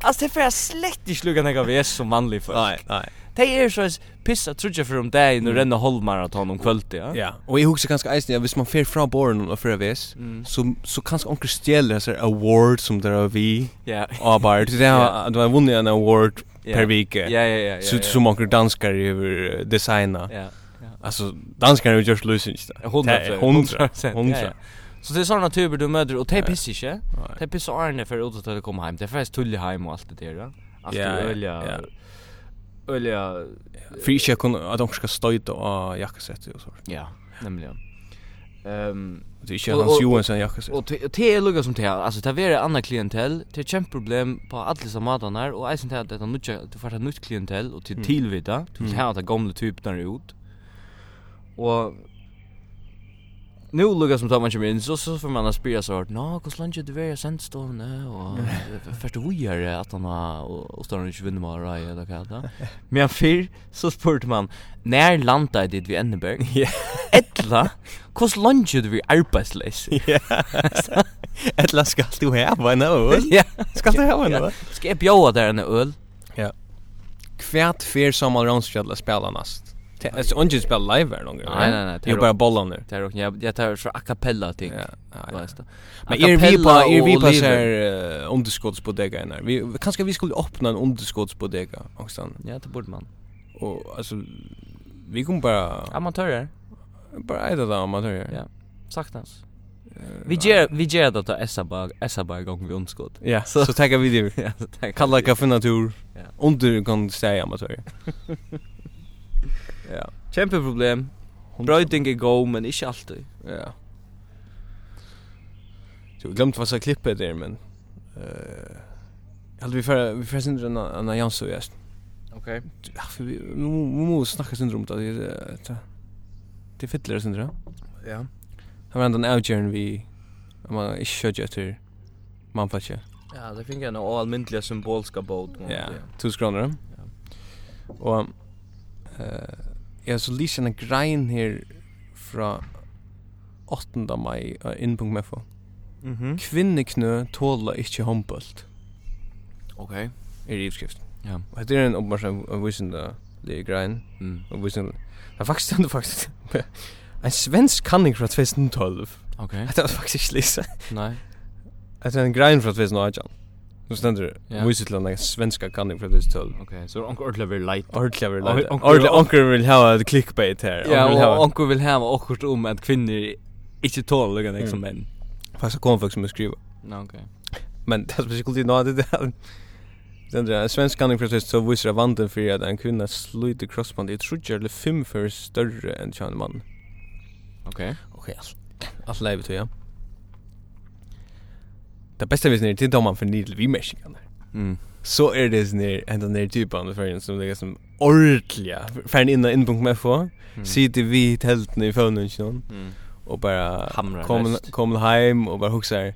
Speaker 4: Altså, det er fer slett ikke lukka nek av vis som vanlig folk.
Speaker 3: Nei, nei.
Speaker 4: Det er så pissa trutja for om dagen og renna halvmaraton om kvöldi, ja?
Speaker 3: Ja. Og jeg husker ganske eisen, ja, hvis man fer fra båren og fra vis,
Speaker 4: Mm.
Speaker 3: så, så kanskje onker stjeler disse award som der er vi
Speaker 4: Ja.
Speaker 3: av bare. Det
Speaker 4: Ja.
Speaker 3: er, du har vunnet en award per vike.
Speaker 4: Ja, ja, ja, ja.
Speaker 3: Så
Speaker 4: ja.
Speaker 3: som onker danskar över designa.
Speaker 4: Ja.
Speaker 3: Alltså danskar är just lösning.
Speaker 4: Hundra,
Speaker 3: er hundra,
Speaker 4: ja, ja.
Speaker 3: hundra.
Speaker 4: Så det är sådana typer du möter och det pissar inte.
Speaker 3: Nej.
Speaker 4: Det pissar Arne för att det kommer hem. Det er är faktiskt tullig hem och allt det där. ja. Allt
Speaker 3: Ja,
Speaker 4: det
Speaker 3: ja,
Speaker 4: ölja.
Speaker 3: ja.
Speaker 4: Ölja.
Speaker 3: För jag kan att de ska stöta och jackasätt och så.
Speaker 4: Ja, nämligen. Ehm
Speaker 3: Det är inte
Speaker 4: Och-
Speaker 3: Hans
Speaker 4: och-
Speaker 3: Johansson jackasätt.
Speaker 4: och te- och te är lugga som te. Alltså det är andra klientell. Det är ett kämpeproblem er på alla som matar här och eisen till att det är nytt du får ett nytt klientell och till
Speaker 3: Mm.
Speaker 4: tillvita. Du vill
Speaker 3: Mm.
Speaker 4: ha att gamla typerna ut. Och Nu lukka som tar man kommer in så så får man spira så hårt. Nå, hur långt det vara sent stående och först vi är att han har och står inte vinner med Rai eller vad det Men för så spurte man när landade det vi Enneberg?
Speaker 3: Ja.
Speaker 4: Ettla. Hur långt det vi arbetslös?
Speaker 3: Ettla ska du ha en öl.
Speaker 4: Ja.
Speaker 3: Ska du ha en
Speaker 4: Ja.
Speaker 3: öl?
Speaker 4: Ska jag bjóa där en öl?
Speaker 3: Kvärt fer Samuel Ransfjäll att spela näst. Alltså ingen spelar live er här någon gång.
Speaker 4: Nej, nej, nej, det
Speaker 3: Det är
Speaker 4: är-
Speaker 3: bara bollar nu.
Speaker 4: Det är också jag jag tar så a cappella ting.
Speaker 3: Ja, ja, ja.
Speaker 4: Vet du?
Speaker 3: Men är vi på är vi på så här
Speaker 4: här.
Speaker 3: eh, underskottsbodega här. Vi kanske vi skulle öppna en underskottsbodega också.
Speaker 4: Ja, det borde man.
Speaker 3: Och alltså vi kommer bara
Speaker 4: Amatörer.
Speaker 3: bara äta det Eh, om man hör.
Speaker 4: Ja. Saktans. Vi ger vi ger det att essa bara essa bara gång vi undskott.
Speaker 3: Ja, så tackar vi det.
Speaker 4: Ja, så tack.
Speaker 3: Kalla kaffe natur.
Speaker 4: Ja.
Speaker 3: Under kan säga amatör. ja.
Speaker 4: Kämpe problem. Bröding är go men inte alltid.
Speaker 3: Ja. Så jag glömde vad jag klippet där men eh hade vi för vi förresten den Anna Jansson gäst.
Speaker 4: Okej.
Speaker 3: Ja, för vi vi må- vi måste snacka syndrom då det är det- det fittlar syndrom.
Speaker 4: Ja.
Speaker 3: Han var ändå en outjourn vi om man inte körde efter man fattar.
Speaker 4: Ja, det fick jag en allmyntliga symbolska båt.
Speaker 3: Ja, tusen kroner. Ja. Og eh jeg så lyser en grein her fra 8. mai av inn.mfo.
Speaker 4: Mhm.
Speaker 3: Kvinneknø tåla ikkje håndbølt,
Speaker 4: Okej.
Speaker 3: er i skrift.
Speaker 4: Ja.
Speaker 3: Og dette er en oppmerksom av visende det grein.
Speaker 4: Mm.
Speaker 3: Og visende, det er faktisk stendt faktisk. En svensk kanning fra 2012.
Speaker 4: Okej.
Speaker 3: Dette er faktisk ikke lyset.
Speaker 4: Nej.
Speaker 3: Dette er en grein fra 2018. Nå stendur det,
Speaker 4: Ja.
Speaker 3: yeah. visende en svenska kanning fra 2012.
Speaker 4: Okej, så onkel ordla vill light.
Speaker 3: Ordentlig vil
Speaker 4: Og-
Speaker 3: det.
Speaker 4: onkur-
Speaker 3: Ordentlig, onkur vil ha et clickbait her.
Speaker 4: Ja,
Speaker 3: Onkur vil
Speaker 4: och
Speaker 3: ha.
Speaker 4: onkel vill ha också om att kvinnor inte tål lika mycket som män.
Speaker 3: Fast det kommer folk som skriver.
Speaker 4: Mm. Ja, okej.
Speaker 3: Men det som vi skulle nå, det er... Den der, en svensk kanning fra Tyskland, så viser jeg vanten for at en kvinne sluter crossband i trudger eller er fem for større enn kjønn mann.
Speaker 4: Okej.
Speaker 3: Ok, alt. Alt leivet, er ja. Det beste vi snir, det er da man fornidler vi merskingene.
Speaker 4: Mm.
Speaker 3: Så er det snir, enda nere typen av ferien som det er som ordentlige. Ferien inn og inn.mfo,
Speaker 4: Mm.
Speaker 3: sitter vi i teltene i faunen, ikke noen.
Speaker 4: Mm.
Speaker 3: och bara
Speaker 4: Hamrar
Speaker 3: kom
Speaker 4: mest.
Speaker 3: kom hem och bara huxar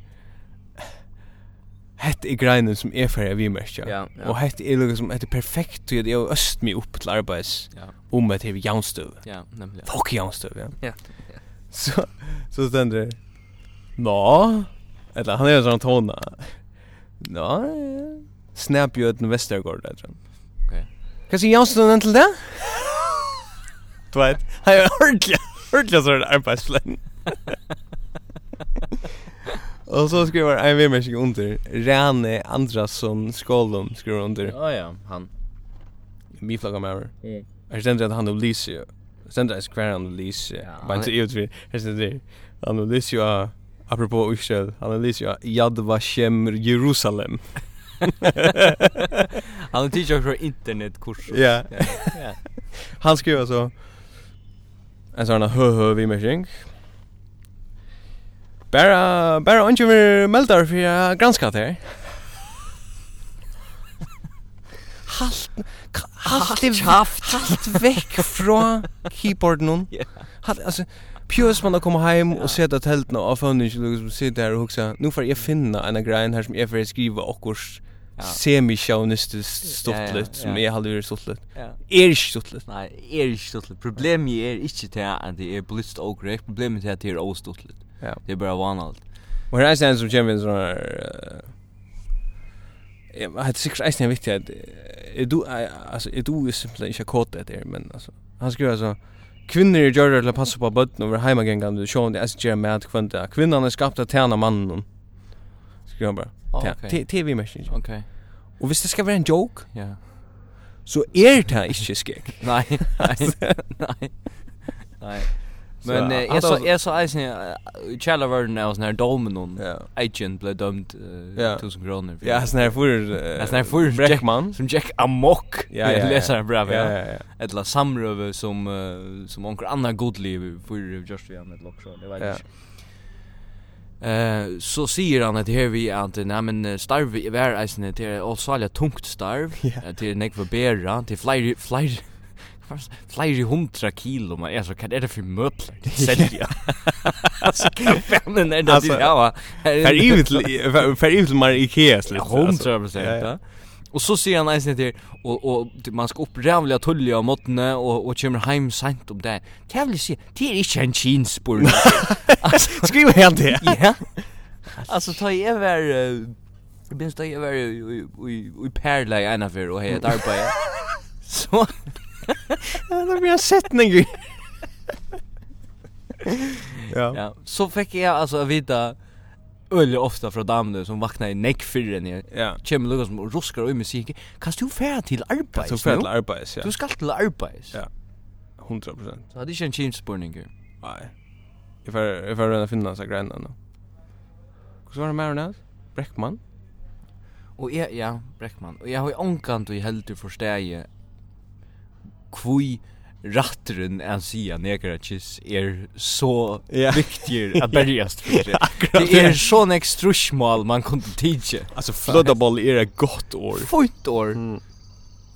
Speaker 3: hett i greinen som er är för vi mest ja.
Speaker 4: Ja, ja.
Speaker 3: Och hett är lugg som hett er perfekt till det öst mig upp um till arbets
Speaker 4: Ja.
Speaker 3: om att det janstöv.
Speaker 4: Ja, nämligen.
Speaker 3: Fuck janstöv ja.
Speaker 4: Ja.
Speaker 3: Så så ständer det. Nå. er Eller han är sån tona. Nå. Snäppjöten Västergård där tror jag.
Speaker 4: Okej.
Speaker 3: Kan se janstöv till det? Du vet, han är ordentligt, ordentligt sådär arbetsplan. Och så skriver en vimmersing under, Rane Andrasson Skålum skriver under,
Speaker 4: Ja, ja, han.
Speaker 3: min flagga med över.
Speaker 4: Mm.
Speaker 3: Här ständer att han och Lise, ständer att skvär han och Lise,
Speaker 4: Ja,
Speaker 3: bara inte ut vid, här ständer det, han och Lise, ja, apropå Israel, han och Lise, ja, Yad Vashem Jerusalem.
Speaker 4: Han är teacher för internetkurs.
Speaker 3: Ja.
Speaker 4: Ja.
Speaker 3: Han skriver så En sån här hö hö vi med Bara bara ingen vill melda för jag granskar det här. Halt ka- halt i- halt veck från keyboarden hon.
Speaker 4: Ja.
Speaker 3: Halt alltså Pjus man har kommit hem och sett att hälterna av fönnen inte liksom sitter där och huxar. Nu får jag finna en grej här som jag får skriva och
Speaker 4: Ja.
Speaker 3: semi-sjaunistiskt
Speaker 4: Ja, ja,
Speaker 3: stuttligt som
Speaker 4: ja.
Speaker 3: jag hade varit stuttligt.
Speaker 4: Ja.
Speaker 3: Er ikke stuttligt.
Speaker 4: Nei, er ikke stuttlet. Problemet er ikke til at det er blitzt og grek. Problemet er at det er ostuttlet.
Speaker 3: Ja.
Speaker 4: Det er bare vanalt.
Speaker 3: Og her er eisen som kommer en sånn her... eh, Jeg vet sikkert eisen er viktig at... eh, Jeg do, eh, altså, jeg do er simpelthen ikke kåt etter, men altså... Han skriver altså... Kvinner gjør det til å passe på bøtten over heimagengene, du ser om det er som gjør med at kvinner er Kvinnerne er skapt til å tjene mannen. Skriver han
Speaker 4: Ah,
Speaker 3: bare.
Speaker 4: ok.
Speaker 3: TV-message.
Speaker 4: Ok,
Speaker 3: Og hvis det skal være en joke,
Speaker 4: ja.
Speaker 3: så er det ikke skek.
Speaker 4: Nei, nei, nei. Nei. Men
Speaker 3: Så,
Speaker 4: eh,
Speaker 3: han
Speaker 4: jeg så
Speaker 3: tar-
Speaker 4: jeg så eisen i kjellerverden av sånn her domen hon.
Speaker 3: Ja.
Speaker 4: Agent ble dømt
Speaker 3: Ja.
Speaker 4: 1000 kroner. for-
Speaker 3: Ja, sånn her for... eh,
Speaker 4: Ja, sånn her for-
Speaker 3: Breckmann.
Speaker 4: Som Jack Amok.
Speaker 3: Ja, ja, ja.
Speaker 4: Läsar bra.
Speaker 3: Ja, ja, ja.
Speaker 4: Eller samrøve som eh, som onkel Anna Godliv för just vi med lock det var
Speaker 3: Ja.
Speaker 4: inte. Eh så säger han att här vi att nej men eh, starv i vär eisen det är också alla er tungt starv
Speaker 3: Ja.
Speaker 4: eh, till nek för bära till flyr flyr flyr hundra er, kilo man är så kan det är det för möbler det säljer. Alltså kan fan den där
Speaker 3: Alltså,
Speaker 4: det ja.
Speaker 3: Fer ivet til- fer ivet til mer Ikea slitt. altså.
Speaker 4: 100 procent.
Speaker 3: Ja, ja.
Speaker 4: Ja. Och så ser han nice till och och ty- man ska upprävla tulliga måttne och och kommer hem sent om det. Det vill säga, det är inte en chinspur.
Speaker 3: Skriv helt det.
Speaker 4: Ja. Alltså ta i över eh, jag minns ta i över i Perla i ena för och hej där på. Så
Speaker 3: Det er blir en setning. Ja.
Speaker 4: ja, så fick jag alltså vita öle ofta från damen som vaknar i näck förrän jag
Speaker 3: Ja.
Speaker 4: kommer Lucas och ruskar och i musiken. Kan du färra till arbetet?
Speaker 3: Så fel arbeids, ja.
Speaker 4: Du ska till arbetet.
Speaker 3: Ja. 100%.
Speaker 4: Så hade jag en chinspurning.
Speaker 3: Nej. Jag får jag får rena finna så grejerna nu. Hur var det med henne? Breckman?
Speaker 4: Og jeg, ja, Breckmann, og jeg har jo omkant og jeg heldur forstegi kvui ratteren en sia negara kiss er så
Speaker 3: Ja.
Speaker 4: viktig at berjast for det. Det er sånn ekstrusmål man kunne tidsje.
Speaker 3: Alltså floodable är ett gott år.
Speaker 4: Fynt år,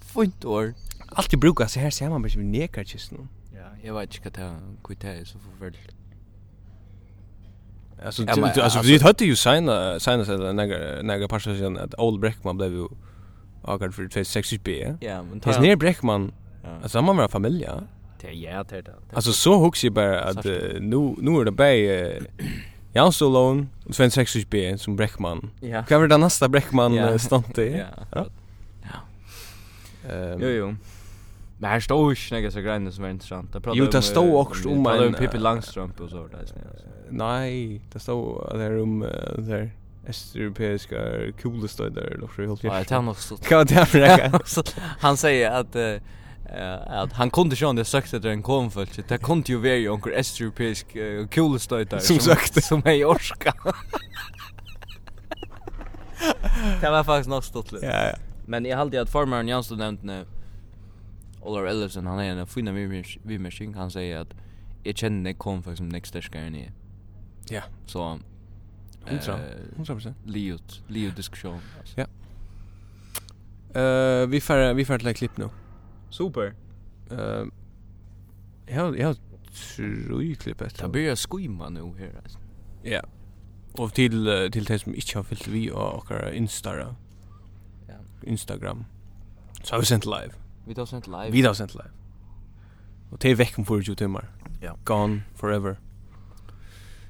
Speaker 4: fynt år.
Speaker 3: Alltid brukar så här ser man bara som nekar just nu.
Speaker 4: Ja, jeg vet ikke hva det er, hva det er så forferdelig.
Speaker 3: Alltså
Speaker 4: Ja, men,
Speaker 3: du- alltså
Speaker 4: alltså-
Speaker 3: vi hade ju signa signa sig där några några par sedan att Old Breckman blev ju agad för 26 B.
Speaker 4: Ja, men
Speaker 3: Det är ner Breckman.
Speaker 4: Ja.
Speaker 3: Alltså man var familj. Ja.
Speaker 4: Det er ja, det er det.
Speaker 3: Alltså så hooks ju bara att eh, nu nu är det bara eh, Jan Solon och Sven Sexus B som Breckman.
Speaker 4: Ja.
Speaker 3: Kan vi det nästa Breckman
Speaker 4: Ja.
Speaker 3: yeah. stant i?
Speaker 4: Ja, akkurat.
Speaker 3: Ehm,
Speaker 4: Jo, jo. Men her står ikke noe så greiene som er interessant. Jeg prater
Speaker 3: Jo, det
Speaker 4: eh,
Speaker 3: står også om
Speaker 4: Jeg prater
Speaker 3: en,
Speaker 4: om um Pippi
Speaker 3: eh,
Speaker 4: Langstrømpe og så. Det, er sånn, altså.
Speaker 3: Nej, det står där om eh, det där östeuropeiska kulestöd där eller så helt
Speaker 4: Ja, det har nog stått.
Speaker 3: Kan det här räcka?
Speaker 4: Så han säger att eh, eh, att han kunde sjön det sökte efter en konflikt. Det kunde ju vara ju onkel östeuropeisk eh, kulestöjtare
Speaker 3: Som sökte.
Speaker 4: som är i Orska. det var faktiskt nog stått lite.
Speaker 3: Ja, ja.
Speaker 4: Men jag hade att formaren Jansson nämnt när Olar Ellison han är en fina vimmersing han säger att jag känner nek konflikt som nek stärskare än jag.
Speaker 3: Ja,
Speaker 4: Så
Speaker 3: 100.
Speaker 4: eh,
Speaker 3: 100%.
Speaker 4: liot, liot diskussion.
Speaker 3: Ja. Eh, vi får vi får ett klipp nu.
Speaker 4: Super.
Speaker 3: Eh, jag jag tror ju klippet.
Speaker 4: Det börjar skymma nu här alltså.
Speaker 3: Ja. Og til eh, til dei som ikkje har fyllt vi og okkara Instagram.
Speaker 4: Ja.
Speaker 3: Instagram. Så har vi sendt live.
Speaker 4: Vi tar sent live.
Speaker 3: Vi har sendt live. Og det er vekk om 24 timmar.
Speaker 4: Ja.
Speaker 3: Gone forever.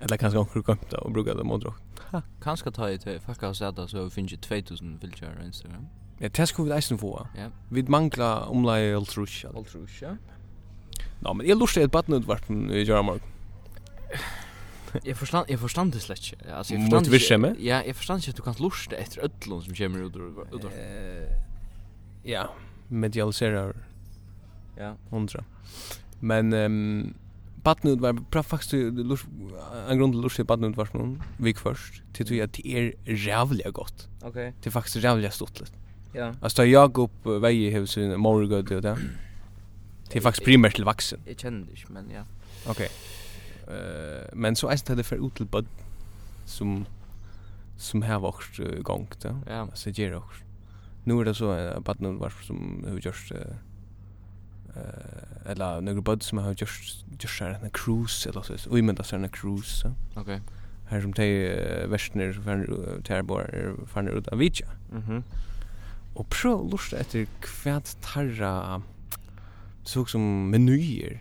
Speaker 3: Eller kanskje onkur gømt og bruka det mot rock.
Speaker 4: Kanskje ta i til fucka oss etter så vi finner 2000 fylgjere på Instagram.
Speaker 3: Ja, det skal vi eisen få.
Speaker 4: Ja.
Speaker 3: Vi mangla omlai alt rush.
Speaker 4: Alt rus, ja.
Speaker 3: Nå, men jeg lustig et badnudvarpen i Jara Morg.
Speaker 4: Jeg forstand, jeg forstand det slett ikke. Altså, jeg
Speaker 3: Mot
Speaker 4: forstand
Speaker 3: virksemmet?
Speaker 4: Ja, jeg forstand ikke at du kan lurste etter ødlån som kommer ut ur ut ur-
Speaker 3: Ja, medialiserar
Speaker 4: Ja.
Speaker 3: hundra. Men um, badnud var bra faktisk lurs, en grunn til lurs til badnud var noen vik først, til tog at det er rævlig godt.
Speaker 4: Ok,
Speaker 3: Det er faktisk rævlig stått litt.
Speaker 4: ja.
Speaker 3: Altså, da Jakob vei hev sin morgød og det, det er faktisk primært til vaksen.
Speaker 4: Jeg kjenner det ikke, men ja.
Speaker 3: Eh, Ok. Uh, men så eisen til det fer ut til bød. som som här var också gång då.
Speaker 4: Ja.
Speaker 3: Alltså ger också. Nu är det så att barnen var som hur just eh eller några bud som har just just här en cruise eller så. Vi men det är en cruise. Så.
Speaker 4: Okej.
Speaker 3: Här som te västner eh, för terror för ut av Vicha.
Speaker 4: Mhm.
Speaker 3: Och prøv lust efter kvärt tarra såg som menyer.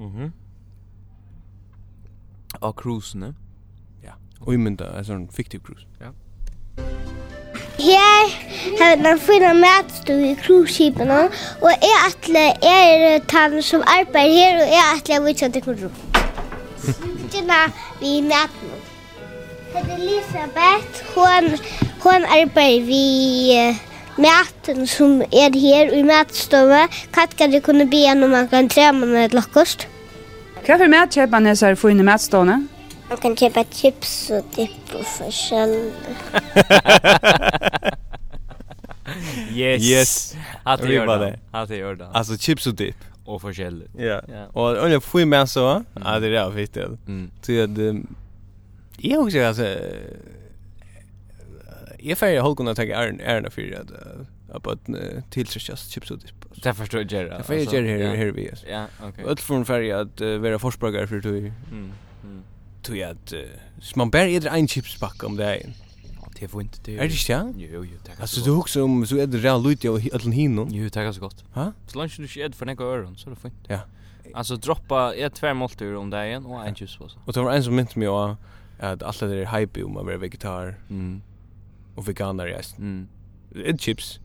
Speaker 4: Mhm. Och cruise, ne?
Speaker 3: Vi men det är en fiktiv cruise.
Speaker 6: Her har man fina matstov i cruiseskipene, og jeg atle er tann som arbeider her, og jeg atle er vitsa til kundrum. Snutina vi maten. Her er Elisabeth, hon, hon arbeider vi eh, maten som er her i matstovet. Katka, du kunne be henne om man kan trema med et lokkost.
Speaker 7: Hva for mat kjøper man disse fine matstående?
Speaker 6: Man kan kjøpe chips og dipp og forskjellig.
Speaker 4: Yes.
Speaker 3: Yes.
Speaker 4: Att det gör
Speaker 3: Ribba
Speaker 4: det.
Speaker 3: det.
Speaker 4: Att det gör det.
Speaker 3: Alltså chips och dip.
Speaker 4: Och förskälligt.
Speaker 3: Ja.
Speaker 4: Ja.
Speaker 3: Och olja får med så. va? Ja, det är viktigt.
Speaker 4: Mm.
Speaker 3: Så att ehm, jag också alltså eh, jag färger håll kunna ta ärn ärna för att eh, på att eh, tillsättas chips och dip.
Speaker 4: Det förstår jag Gerard.
Speaker 3: Jag färger här här vi. är.
Speaker 4: Ja, okej.
Speaker 3: Öll från färg att eh, vara forsbrukare för tog
Speaker 4: Mm. Mm.
Speaker 3: tog att eh, så man bär äter en chipspack om det är.
Speaker 4: Ja, Det får inte det. er-
Speaker 3: Är det inte?
Speaker 4: Jo, jo, tack.
Speaker 3: Alltså du också om så är det real lite och allt hinon.
Speaker 4: Jo, tack så gott.
Speaker 3: Ha?
Speaker 4: Så lunch du sked för några öron så är det fint.
Speaker 3: Ja.
Speaker 4: Alltså droppa ett tvärmåltur om dagen och en juicepåse.
Speaker 3: Och det var en som minns mig av att allt det där hype om att vara um vegetar
Speaker 4: Mm.
Speaker 3: och veganer i ästen.
Speaker 4: Mm.
Speaker 3: Ett chips.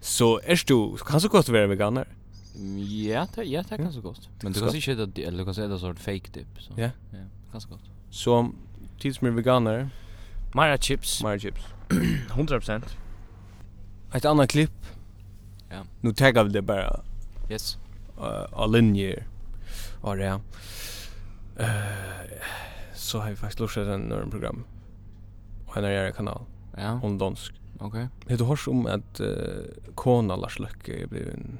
Speaker 3: Så är du kan så gott vara veganer.
Speaker 4: Mm, Ja, det ja, det kan så gott. Men du
Speaker 3: Så
Speaker 4: kan
Speaker 3: gott.
Speaker 4: se shit att eller du kan se det sort fake dip så.
Speaker 3: Ja.
Speaker 4: Ja, kan så gott.
Speaker 3: Så tids med veganer,
Speaker 4: Mara chips.
Speaker 3: mer chips.
Speaker 4: 100%.
Speaker 3: Ett annat klipp.
Speaker 4: Ja.
Speaker 3: Nu taggar vi det bara
Speaker 4: Yes.
Speaker 3: uh, av linjer. Ja, det är. Eh, Så har vi faktiskt lustat en norm program. Och en är kanal
Speaker 4: Ja,
Speaker 3: om dansk.
Speaker 4: okej.
Speaker 3: Har du hört om att uh, Kona Lars Løkke blev en...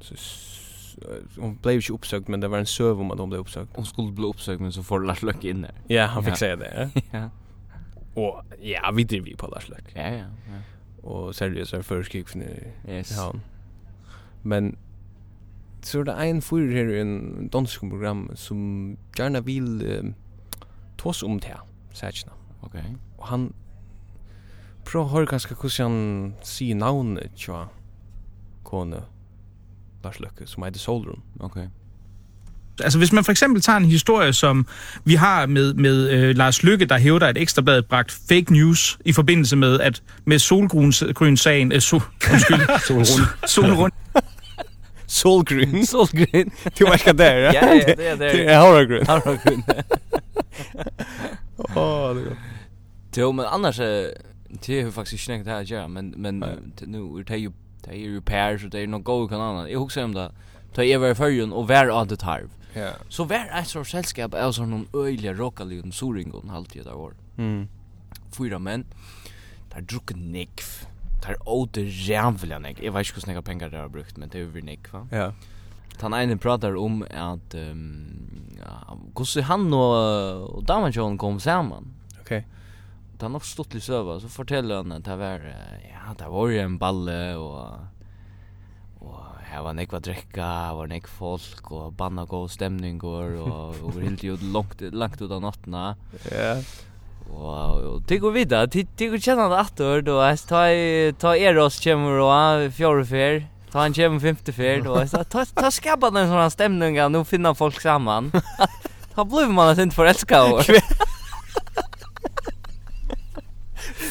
Speaker 3: så- s- eh, Hon blev inte uppsökt, men det var en söv om att hon blev uppsökt.
Speaker 4: Hon skulle bli uppsökt men så får Lars Løkke in där.
Speaker 3: Ja, han fick
Speaker 4: Ja.
Speaker 3: säga det. ja.
Speaker 4: Ja.
Speaker 3: Och ja, vi driver på Lars Løkke.
Speaker 4: Ja, ja. ja.
Speaker 3: Och seriösa förskrick för nu.
Speaker 4: Yes.
Speaker 3: Ja. Men så er det en fyrir her i en dansk program som gärna vil eh, tås om det, sætjena.
Speaker 4: Okej.
Speaker 3: Og han prøv å høre ganske hvordan han sier navnet tja kone Lars Løkke, som heter Solrun.
Speaker 4: Okej.
Speaker 8: Altså hvis man for eksempel tager en historie, som vi har med, med øh, Lars Lykke, der hævder, at Ekstrabladet bragt fake news i forbindelse med, at med solgrøn-sagen... Øh, sol, undskyld, solrund. solrund.
Speaker 3: Solgrun,
Speaker 4: Solgryn.
Speaker 3: du var ikke der, ja?
Speaker 4: Ja, ja, det är
Speaker 3: Det
Speaker 4: det.
Speaker 3: er Hauragrun.
Speaker 4: Har du kun.
Speaker 3: Åh, det er godt.
Speaker 4: Jo, men annars eh, det är ju faktiskt inte det här att göra, men men
Speaker 3: Nej.
Speaker 4: eh, det- nu är det ju det är ju repairs och det är något go kan annat. Jag huxar om det. Ta jag var i förrjun och var av det tarv.
Speaker 3: Ja.
Speaker 4: Så var är så sällskap är så någon öjliga rockar om soringon halvtid där år.
Speaker 3: Mm.
Speaker 4: Fyra män. Där drucker nick. Där åter jävla nick. Jag vet inte hur snäga pengar det har brukt, men det är över nick va.
Speaker 3: Ja.
Speaker 4: Han ene pratar om att ehm ja, gosse han och, och damen kom samman.
Speaker 3: Okej.
Speaker 4: Da han oppstått litt søva, så forteller han at det var, eh, ja, det var jo en balle, og, og her var nekva drekka, her var nekva folk, og banna god stemningar, og, og vi hildi jo langt, langt ut av nattena,
Speaker 3: Ja.
Speaker 4: og, og tikk og vidda, tikk og kjenner det attor, og jeg ta, ta Eros kjemur og han fjore fer, ta han kjemur femte fer, og jeg ta, ta skabba den sånne stemninga, nå finner folk saman, ta blir man sint forelska, og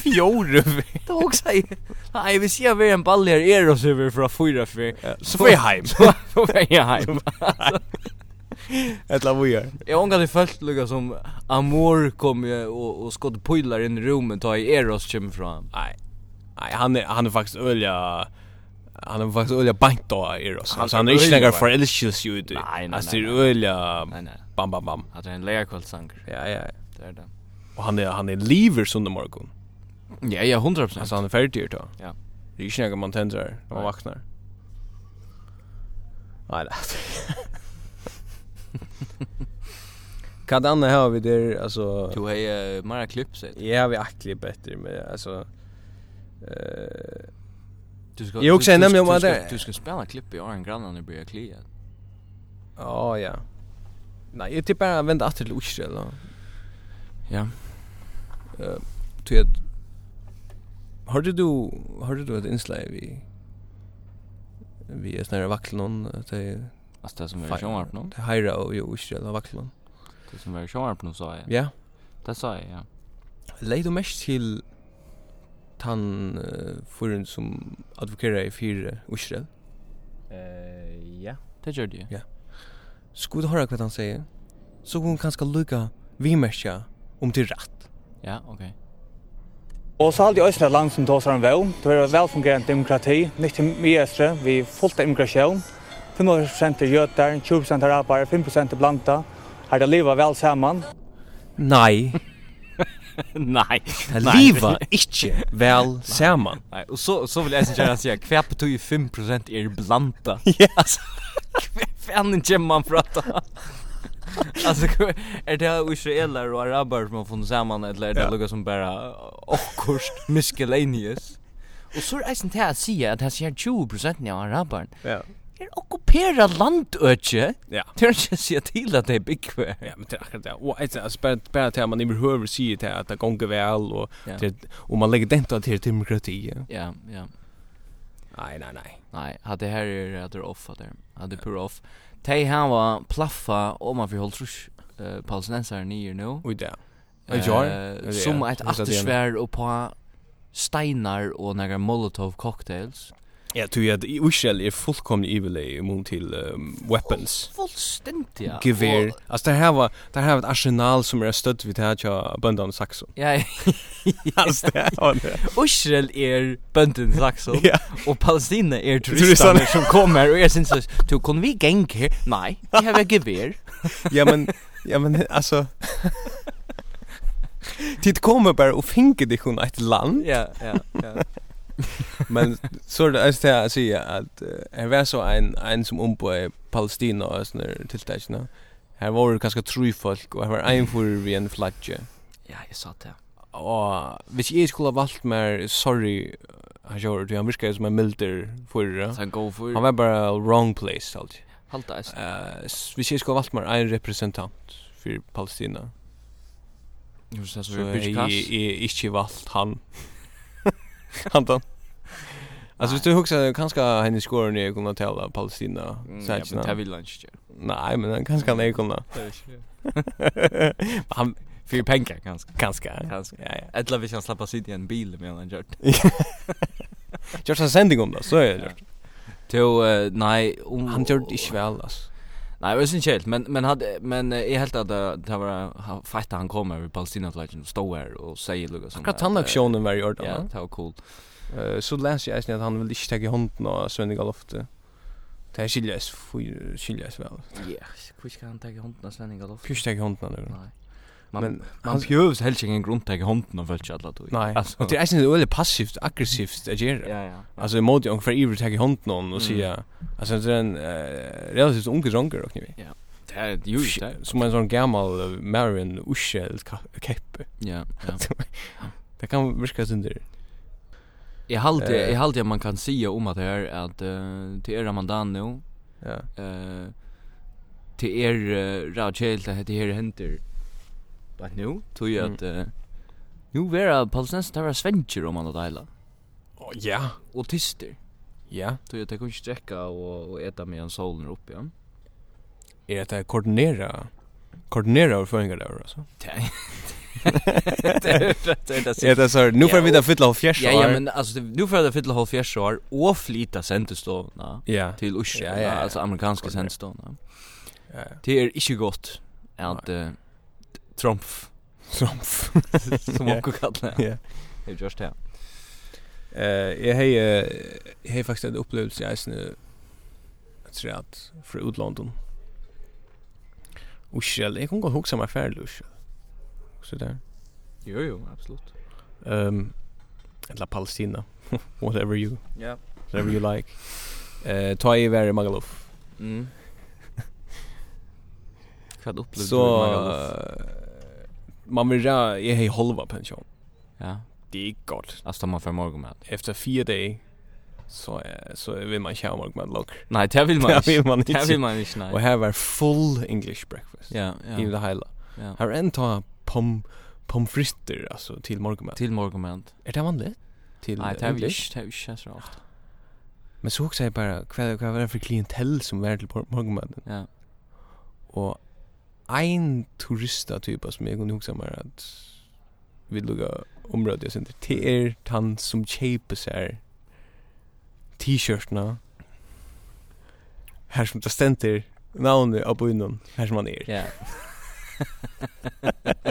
Speaker 3: Fjore,
Speaker 4: Då också jag. Nej, vi ser vi en ball här är oss över från fyra för.
Speaker 3: så får jeg heim.
Speaker 4: Så får jag hem.
Speaker 3: Et la vi gjør.
Speaker 4: Jag ångar det först lugga som Amor kom ju och, och skott pojlar in i rummet ta i Eros kom fram.
Speaker 3: Nej. Nej, han är han är faktiskt ölja han är faktiskt ölja bank då i oss.
Speaker 4: Han
Speaker 3: Han,
Speaker 4: är
Speaker 3: han är inte
Speaker 4: ölja.
Speaker 3: några förälskelse ju inte.
Speaker 4: Nej, nej, nej,
Speaker 3: Alltså det är
Speaker 4: nej.
Speaker 3: ölja
Speaker 4: Nej nej,
Speaker 3: bam bam bam.
Speaker 4: att det är en läkarkvällssanger.
Speaker 3: Ja, ja.
Speaker 4: Det är det.
Speaker 3: Och han är han är lever som den morgon.
Speaker 4: Ja, ja, 100%.
Speaker 3: Alltså han är färdig då.
Speaker 4: Ja.
Speaker 3: Det är inte några man tänder när man
Speaker 4: Nej.
Speaker 3: vaknar. Nej, nej. Vad annat har vi
Speaker 4: er,
Speaker 3: där alltså
Speaker 4: Du har ju mera klipp sett.
Speaker 3: Ja, vi aktliga bättre med alltså eh
Speaker 4: Du ska
Speaker 3: Jo, också
Speaker 4: du- du-
Speaker 3: nämligen
Speaker 4: du
Speaker 3: om
Speaker 4: ska-
Speaker 3: att det-
Speaker 4: Du ska spela klipp i Aron Grannan och börja klia.
Speaker 3: ja ja. Nej, jag tippar att vända åter till Israel då.
Speaker 4: Ja.
Speaker 3: Ty att Hörde du hörde du ett inslag vi vi är snarare vacklon till
Speaker 4: Alltså det som var i Sjónvarp nu.
Speaker 3: Til Haira og jo Israel og Vaklon.
Speaker 4: Det som var i Sjónvarp nu sa jag.
Speaker 3: Ja.
Speaker 4: Det sa jag, ja.
Speaker 3: Leid du mest til tann uh, foren som advokerer i fire Israel.
Speaker 9: Eh, ja.
Speaker 4: Det gjorde jag.
Speaker 3: Skulle du høre hva han sier, så kunne hun kanskje lukka vimerkja om til rett.
Speaker 4: Ja, okej.
Speaker 10: Og så halde jeg også et land um som tåser om vevn. Det var velfungerende demokrati, nytt til mye østre, vi fullt av immigrasjon. 25% er jøter, 20% er arbeidere, 5% er blanda. Her det livet vel sammen.
Speaker 3: Nei,
Speaker 4: Nej.
Speaker 3: det liva ikkje vel saman.
Speaker 4: Nej, och så så vill jag sen gärna säga kvar på tog 5 är blanta.
Speaker 3: Yes.
Speaker 4: Fan inte man prata. Alltså kvar- är er det israeler och araber som har funnit samman eller är det
Speaker 3: Ja.
Speaker 4: något som bara awkward miscellaneous? Och så är det sen till att säga att här ser 20 av araber
Speaker 3: Ja.
Speaker 4: är ockupera landötje.
Speaker 3: Ja.
Speaker 4: Det er är inte att säga till att det er är byggkvä.
Speaker 3: Ja, men det er akkurat det. Og altså, altså, bare, bare til at man ikke behøver sige til at det gonger vel, og,
Speaker 4: Ja.
Speaker 3: til, og man legger den til demokrati. ja.
Speaker 4: Ja, ja.
Speaker 3: Nei, nei, nei.
Speaker 4: Nej, att det här är att det är off att det är. Att det är pure off. Tej han var plaffa om man får hålla trus eh, palestinensare nyer nu.
Speaker 3: Ui, det. er- Ja, ja,
Speaker 4: Eh,
Speaker 3: ja,
Speaker 4: som
Speaker 3: ja,
Speaker 4: ett
Speaker 3: det är det.
Speaker 4: attersvärd och på steinar och några molotov cocktails.
Speaker 3: Ja, tror jag att Israel er är fullkomligt ivelig mot till um, weapons.
Speaker 4: Fullständiga.
Speaker 3: Gevär.
Speaker 4: Och-
Speaker 3: Alltså det här var det här var ett arsenal som är stött vid det här tja böndan Saxon.
Speaker 4: Ja,
Speaker 3: Alltså det var det.
Speaker 4: Israel är bönden Saxon
Speaker 3: Ja.
Speaker 4: och Palestina är
Speaker 3: Turisterna.
Speaker 4: turisterna som kommer och jag syns så du kan vi gänga. Nej, vi har gevär.
Speaker 3: Ja men ja men alltså Tid kommer bara och finka det hon ett land.
Speaker 4: Ja, ja, ja.
Speaker 3: Men så är det alltså det jag säger att eh, här var så en en som om på Palestina och såna till täckna. Här var det ganska tru folk och här var en för vi en flagga.
Speaker 4: Ja, jag sa det.
Speaker 3: Och hvis jag skulle ha valt mer sorry han gör det han viskar som en milder förra.
Speaker 4: Sen go for
Speaker 3: Han var bara wrong place alltid.
Speaker 4: halta is.
Speaker 3: Eh, s- vi ser ska valt mer en representant för Palestina.
Speaker 4: Jo,
Speaker 3: Så
Speaker 4: så så
Speaker 3: jag
Speaker 4: vi
Speaker 3: jag
Speaker 4: kass.
Speaker 3: inte valt han. han då. Alltså hvis du huxar kanske han i skolan är kunna tala Palestina.
Speaker 4: Mm, Ja, men det
Speaker 3: Säkert.
Speaker 4: vill han inte. göra.
Speaker 3: Nej, men han kanske han är kunna.
Speaker 4: er
Speaker 3: Han
Speaker 4: För pengar ganska.
Speaker 3: kanske.
Speaker 4: Ganska.
Speaker 3: Ja, ja.
Speaker 4: Eller vi kan släppa sitt i en bil med han gjort.
Speaker 3: Just en sändning om det, så är det.
Speaker 4: Jo, eh, nej, om
Speaker 3: Han gör det inte väl alltså.
Speaker 4: Nej, det är inte helt, men men hade men eh, jag helt att det det var han- fighta han kom över Palestina flaggen och stod här och säger lugg och sånt.
Speaker 3: Akkurat
Speaker 4: där.
Speaker 3: han aktionen var i ordan.
Speaker 4: Ja,
Speaker 3: Ja.
Speaker 4: det var cool.
Speaker 3: Eh, så läser jag att han vill inte ta i handen av Svenny Galofte. Det här skiljas, fyr- skiljas väl.
Speaker 4: Ja, hur ska han ta i handen av Svenning Galoff?
Speaker 3: Pyrs ta i handen nu.
Speaker 4: Nej. Man,
Speaker 3: Men
Speaker 4: men
Speaker 3: han-
Speaker 4: man behövs helst ingen grund ta i handen av Fölch alla då.
Speaker 3: Nej.
Speaker 4: Alltså,
Speaker 3: Det er är inte väldigt passivt, aggressivt att göra.
Speaker 4: ja, ja.
Speaker 3: Alltså emot jag för iver tag i hand någon och
Speaker 4: Mm.
Speaker 3: säga alltså det är en er eh, relativt ung dronker och ni.
Speaker 4: det är ju det.
Speaker 3: Som en sån gammal eh, Marion Ushel keppe.
Speaker 4: Ja, ja.
Speaker 3: Det kan virka sin där.
Speaker 4: Jag halde
Speaker 3: Eh.
Speaker 4: jag halde att man kan säga om att det är att eh, det är Ramadan nu.
Speaker 3: Ja.
Speaker 4: eh till er uh, Rachel det heter här händer. But nu tror jag
Speaker 3: Mm.
Speaker 4: att eh, nu vera palestinsk där var svenskar om man att dela
Speaker 3: Oh, ja.
Speaker 4: och tyster.
Speaker 3: Ja.
Speaker 4: Tror jag att det kunde sträcka och och äta med en solen upp ja.
Speaker 3: Är det att koordinera koordinera överföringar där alltså.
Speaker 4: Det det är det
Speaker 3: Är
Speaker 4: är
Speaker 3: det så nu får
Speaker 4: Ja,
Speaker 3: vi det fylla av fjärs.
Speaker 4: Ja, ja, men alltså det- nu får det fylla halv fjärs år och flyta sändeståna
Speaker 3: ja.
Speaker 4: till Ushra,
Speaker 3: Ja, ja, ja.
Speaker 4: alltså amerikanska
Speaker 3: Korrekt.
Speaker 4: sändeståna.
Speaker 3: Ja.
Speaker 4: Det är inte gott att uh, Trump
Speaker 3: Trump.
Speaker 4: som
Speaker 3: Ja.
Speaker 4: hon kallar det.
Speaker 3: Ja.
Speaker 4: Det är just det.
Speaker 3: Eh jag hej jag hej faktiskt en upplevelse jag snö att se att för utlandet. Ushel, jag kan gå huxa mig färdlus. Så där.
Speaker 4: Jo, jo, absolut.
Speaker 3: Ehm eller Palestina. whatever you
Speaker 4: Ja.
Speaker 3: whatever you like. Eh ta i var i Magaluf.
Speaker 4: Mm. Hva opplevde
Speaker 3: Så eh, man vill jag jag har halva pension.
Speaker 4: Ja.
Speaker 3: Det är gott.
Speaker 4: Alltså man får morgonmat.
Speaker 3: Efter fyra dagar så eh, så vill man köra morgonmat lock.
Speaker 4: Nei, det vil man
Speaker 3: Det
Speaker 4: ikke.
Speaker 3: vil man
Speaker 4: Det
Speaker 3: ikke.
Speaker 4: vil man ikke,
Speaker 3: Och
Speaker 4: nei.
Speaker 3: här var full English breakfast.
Speaker 4: Ja, ja.
Speaker 3: I det hela.
Speaker 4: Ja.
Speaker 3: Här en ta pom pomfritter alltså till morgonmat.
Speaker 4: Til morgenmat.
Speaker 3: Är Er det vanligt? Till
Speaker 4: Nei,
Speaker 3: eh,
Speaker 4: det er vi
Speaker 3: English?
Speaker 4: ikke, det er vi ikke så ofte.
Speaker 3: Men så också jag bara kvar kvar var det för klientell som var till por- morgonmaten.
Speaker 4: Ja.
Speaker 3: Och en turista typ som jag kunde huxa mer att vill lugga området jag inte till er tant som köper så här t-shirtarna här som er. det ständer navnet av bunnen här som man är.
Speaker 4: Ja.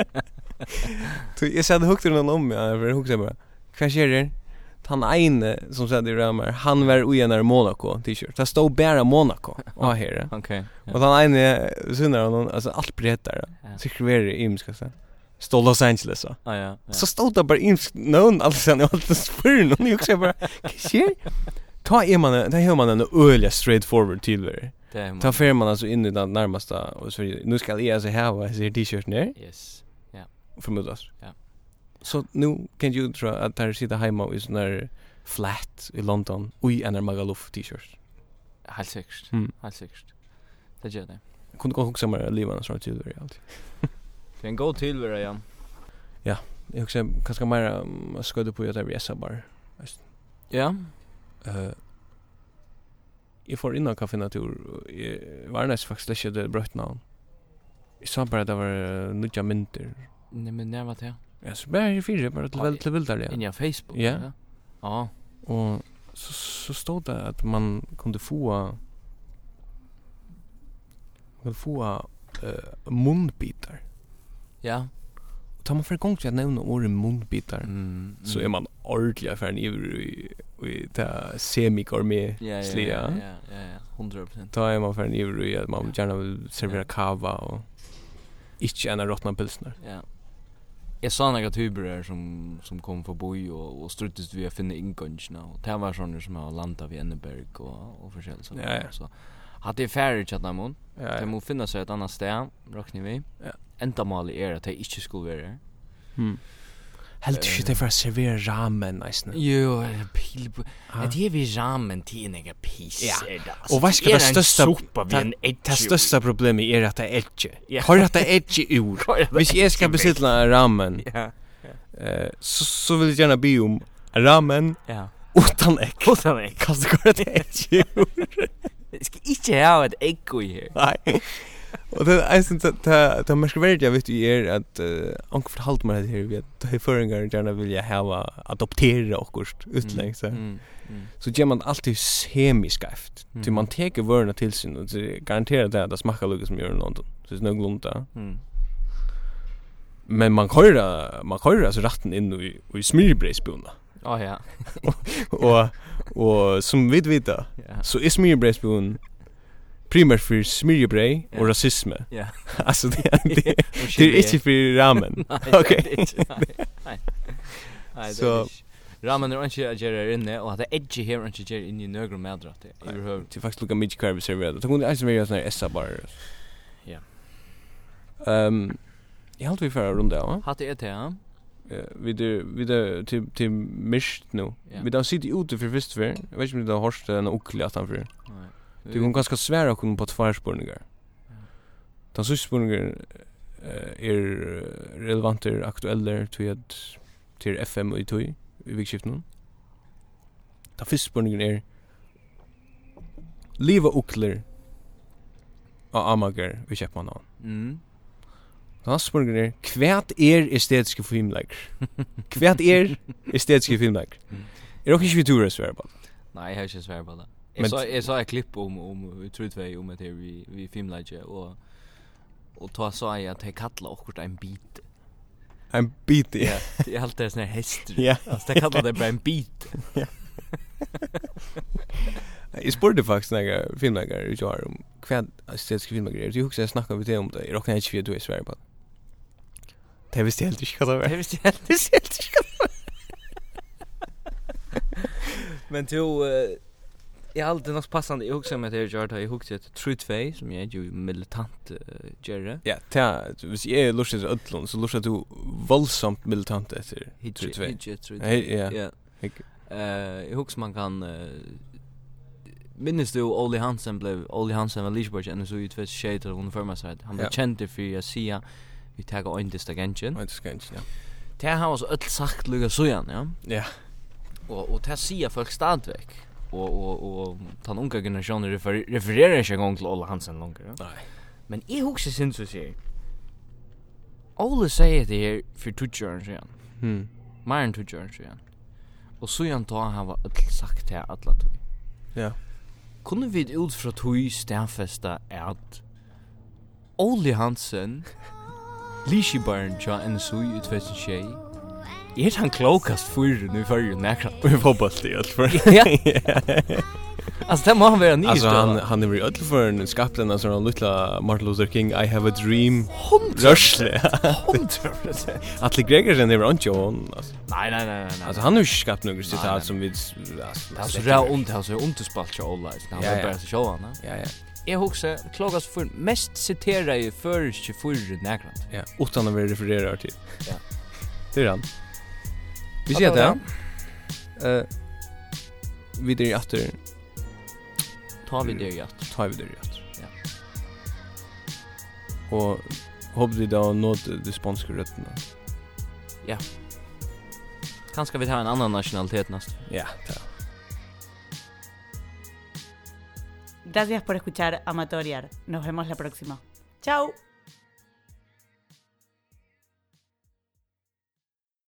Speaker 3: Så jag sa det högt någon om mig för jag huxar bara. Vad sker det? Han ene som sa det ramar, han var ojenare Monaco t-shirt. Det stod bara Monaco. Ja, här.
Speaker 4: Okej.
Speaker 3: Och han ene synar honom, alltså allt bredare.
Speaker 4: Ja.
Speaker 3: Cirkulerar i ska säga. Stod Los Angeles så.
Speaker 4: Ja, ja. ja.
Speaker 3: Så stod det bara imsk någon alltså han allt spyr någon jag också bara. Vad sker? Ta är er man, där hör man en öliga straight forward till det.
Speaker 4: Det er man.
Speaker 3: Ta fer man alltså in i den närmasta och så nu ska jag alltså här vad ser t-shirt ner
Speaker 4: Yes.
Speaker 3: förmodas.
Speaker 4: Ja.
Speaker 3: Så nu kan ju tro att där sitter hemma i sån där flat i London i en Magaluf t-shirt.
Speaker 4: Helt sikkert.
Speaker 3: Mm.
Speaker 4: Helt sikkert. Det gjør det.
Speaker 3: Jag kunde gå också med livan så att det är allt.
Speaker 4: Det er en god tilvære, ja.
Speaker 3: Jag också kanske mer um, sködde på att det är så bara.
Speaker 4: Ja.
Speaker 3: Eh Jag får innan kaffenatur och jag var nästan faktiskt lätt att det bröt någon. Jag sa bara att det var uh, nya mynter.
Speaker 4: Nei, men det var det.
Speaker 3: Jag så bara i fyra bara till
Speaker 4: Ja,
Speaker 3: väl till vildar det.
Speaker 4: Inni av Facebook.
Speaker 3: Ja.
Speaker 4: Ja.
Speaker 3: Och så, så stod det att man kunde få man kunde få uh, munbitar.
Speaker 4: Ja.
Speaker 3: Och tar man för gång till att nämna ordet munbitar
Speaker 4: Mm.
Speaker 3: så är man ordentligt affären i i- i det semikormé
Speaker 4: Ja, ja,
Speaker 3: slia.
Speaker 4: ja, ja, ja, ja, 100%.
Speaker 3: Ta är man affären i i att man gärna vill servera kava och inte gärna rottna pilsner.
Speaker 4: Ja. Jeg sa några tuber her som, som kom forbi og, og struttes vi å finne inngångsene. Og det var sånne som har landet ved Enneberg og, og forskjellig sånt.
Speaker 3: Ja, ja.
Speaker 4: Så er hadde jeg færre tjattene imot.
Speaker 3: Ja,
Speaker 4: De må finne seg et annet sted, råkner vi.
Speaker 3: Ja.
Speaker 4: Enda målet er at de ikke skulle være her.
Speaker 3: Helt shit det för att servera ramen nästan.
Speaker 4: Jo, er pil på... At det er vi ramen til en egen pis,
Speaker 3: Ja.
Speaker 4: er det.
Speaker 3: Och vad ska det största
Speaker 4: sopa vi
Speaker 3: ta-
Speaker 4: en
Speaker 3: Det
Speaker 4: edge.
Speaker 3: största problemet är att det är edge.
Speaker 4: Ja.
Speaker 3: Har att det är edge ur. Hvis jag ska besitta ramen
Speaker 4: Ja,
Speaker 3: eh, så, så vill jag gärna be om ramen
Speaker 4: ja.
Speaker 3: utan ägg.
Speaker 4: Hvordan er det?
Speaker 3: Kasta kvar ett ägg ur.
Speaker 4: Jeg skal ikke ha et egg i her.
Speaker 3: Nej. Och det är sånt att det det mest värdiga vet ju är att eh, anka förhållt man det här vet de föringar gärna vill jag ha adoptera och kost utlängs.
Speaker 4: Mm, mm, mm.
Speaker 3: Så ger man alltid semiskæft. Mm.
Speaker 4: Mm.
Speaker 3: man teker vörna till sin och det garanterar det att det smakar lugg som gör i London. Så det är någorlunda.
Speaker 4: Mm.
Speaker 3: Men man köra man köra alltså ratten in i i smörbrödsbona.
Speaker 4: Å Ah, ja.
Speaker 3: och och som vi vet
Speaker 4: Ja.
Speaker 3: så är smörbrödsbon primärt för smörbröd och
Speaker 4: Ja.
Speaker 3: rasism.
Speaker 4: Ja.
Speaker 3: Alltså det det
Speaker 4: Og
Speaker 3: Det är
Speaker 4: chili.
Speaker 3: inte för ramen. Okej.
Speaker 4: Nei, det er ikke, Nei. Nei, det
Speaker 3: Så-
Speaker 4: er ikke. Ramen er ikke å gjøre her inne, og at det er ikke her ikke å gjøre inne i nøgre meddratt. Jeg
Speaker 3: Nei.
Speaker 4: behøver.
Speaker 3: Det är faktiskt lika mycket kvar vi serverar. Det kunde alltså vara sån här essa bar.
Speaker 4: Ja.
Speaker 3: Ehm Jag håller vi förra runda, va?
Speaker 4: Hatt det er til, ja?
Speaker 3: Eh, Vi det vi det till till mist nu.
Speaker 4: Ja.
Speaker 3: Vi där sitter ute för först för. Jag vet inte om det har hörst en ocklig att han för.
Speaker 4: Nei.
Speaker 3: Det går ganska svär att komma på två spårningar. Den sista spårningen eh, är relevanter aktuella till att till FM och i tog i vikskiften. Den första spårningen är Liva ockler av amager vi köper man av.
Speaker 4: Mm.
Speaker 3: Den andra spårningen är Kvärt är estetiska filmlägg. Kvärt är estetiska filmlägg. Är det också inte vi tror det svär på?
Speaker 4: Nei, jeg har ikke svært på det.
Speaker 3: Men-
Speaker 4: Jeg sa, jeg sa et klipp om, om Trutvei, om at det er vi, vi filmleidje, og og ta sa jeg at jeg kallar okkur en bit.
Speaker 3: En bit i.
Speaker 4: Ja. Det er alt det er sånne hester.
Speaker 3: Ja.
Speaker 4: Altså, jeg kallar det bare en bit.
Speaker 3: Jag spurgade faktiskt några filmläggare i Jar om kvad estetiska filmläggare. Jag huxar jag snackade med dig om det. Jag råkade inte för du är i Sverige på det. Det visste jag helt inte vad det
Speaker 4: Det
Speaker 3: var.
Speaker 4: er visst helt
Speaker 3: Det visste jag helt inte.
Speaker 4: Men to eh, Jag har alltid något passande. Jag huxar mig att jag gör det. Jag huxar ett trutfej som jag är ju er militant uh, gärre.
Speaker 3: Ja, ta, hvis jeg er lustig til Ødlund, så lustig du voldsomt militant etter
Speaker 4: Hitje,
Speaker 3: Trudvei.
Speaker 4: hitje,
Speaker 3: Hei, ja.
Speaker 4: Ja.
Speaker 3: Hygg-
Speaker 4: Eh, jag huxar man kan... Uh, minnes du Olli Hansen blev... Olli Hansen var Lisborg, ännu så utvätt tjejter hon er för mig så här. Han blev
Speaker 3: Ja.
Speaker 4: känd för att säga... Vi tar en distagentjen.
Speaker 3: Nei, det skal ikke, ja.
Speaker 4: Det har oss öll sagt lukka sujan, ja.
Speaker 3: Ja.
Speaker 4: Og, og det sier folk stadvek. Og, og, og den unga generationen refer, refererer ikke engang til Olle Hansen langer, ja.
Speaker 3: Nei.
Speaker 4: Men jeg husker sin så sier, Olle sier det her for 20 år siden,
Speaker 3: Hmm.
Speaker 4: mer enn 20 år siden. Og sujan da har öll sagt det alla tog.
Speaker 3: Ja.
Speaker 4: Kunne vi ut fra tog stedfesta at Olle Hansen, Lishibarn tja NSU i 2006, er han klokast fyren i fyrrjun nekran?
Speaker 3: Vi får bare det i Ødlund.
Speaker 4: Ja. Alltså det må han vara nytt.
Speaker 3: Alltså han han är ju ödel för en skapten alltså en lilla Martin Luther King I have a dream. Rörsle.
Speaker 4: 100%.
Speaker 3: Atle Gregersen är runt John. Alltså
Speaker 4: Nej nej nej nej. nej.
Speaker 3: alltså, han har ju inte skapat några
Speaker 4: Nej, nej.
Speaker 3: citat som vi
Speaker 4: det är
Speaker 3: alltså
Speaker 4: så där ont alltså ont spalt jag alla. Han
Speaker 3: Ja,
Speaker 4: var
Speaker 3: ja.
Speaker 4: bara så showa, va?
Speaker 3: Ja ja.
Speaker 4: Jag huxar klokast för mest citera i förrige förrige nekran.
Speaker 3: Ja, utan att vi refererar till.
Speaker 4: Ja.
Speaker 3: Det är han. Vi
Speaker 4: Ja,
Speaker 3: ser
Speaker 4: det var
Speaker 3: det. Eh vi det efter
Speaker 4: Ta vi det ju att.
Speaker 3: tar vi det rätt.
Speaker 4: Ja.
Speaker 3: Och hoppas vi då nått de spanska rötterna.
Speaker 4: Kanske vi tar en annan nationalitet nästa.
Speaker 3: Ja, ja.
Speaker 1: Gracias por escuchar Amatoriar. Nos vemos la próxima. ¡Chao!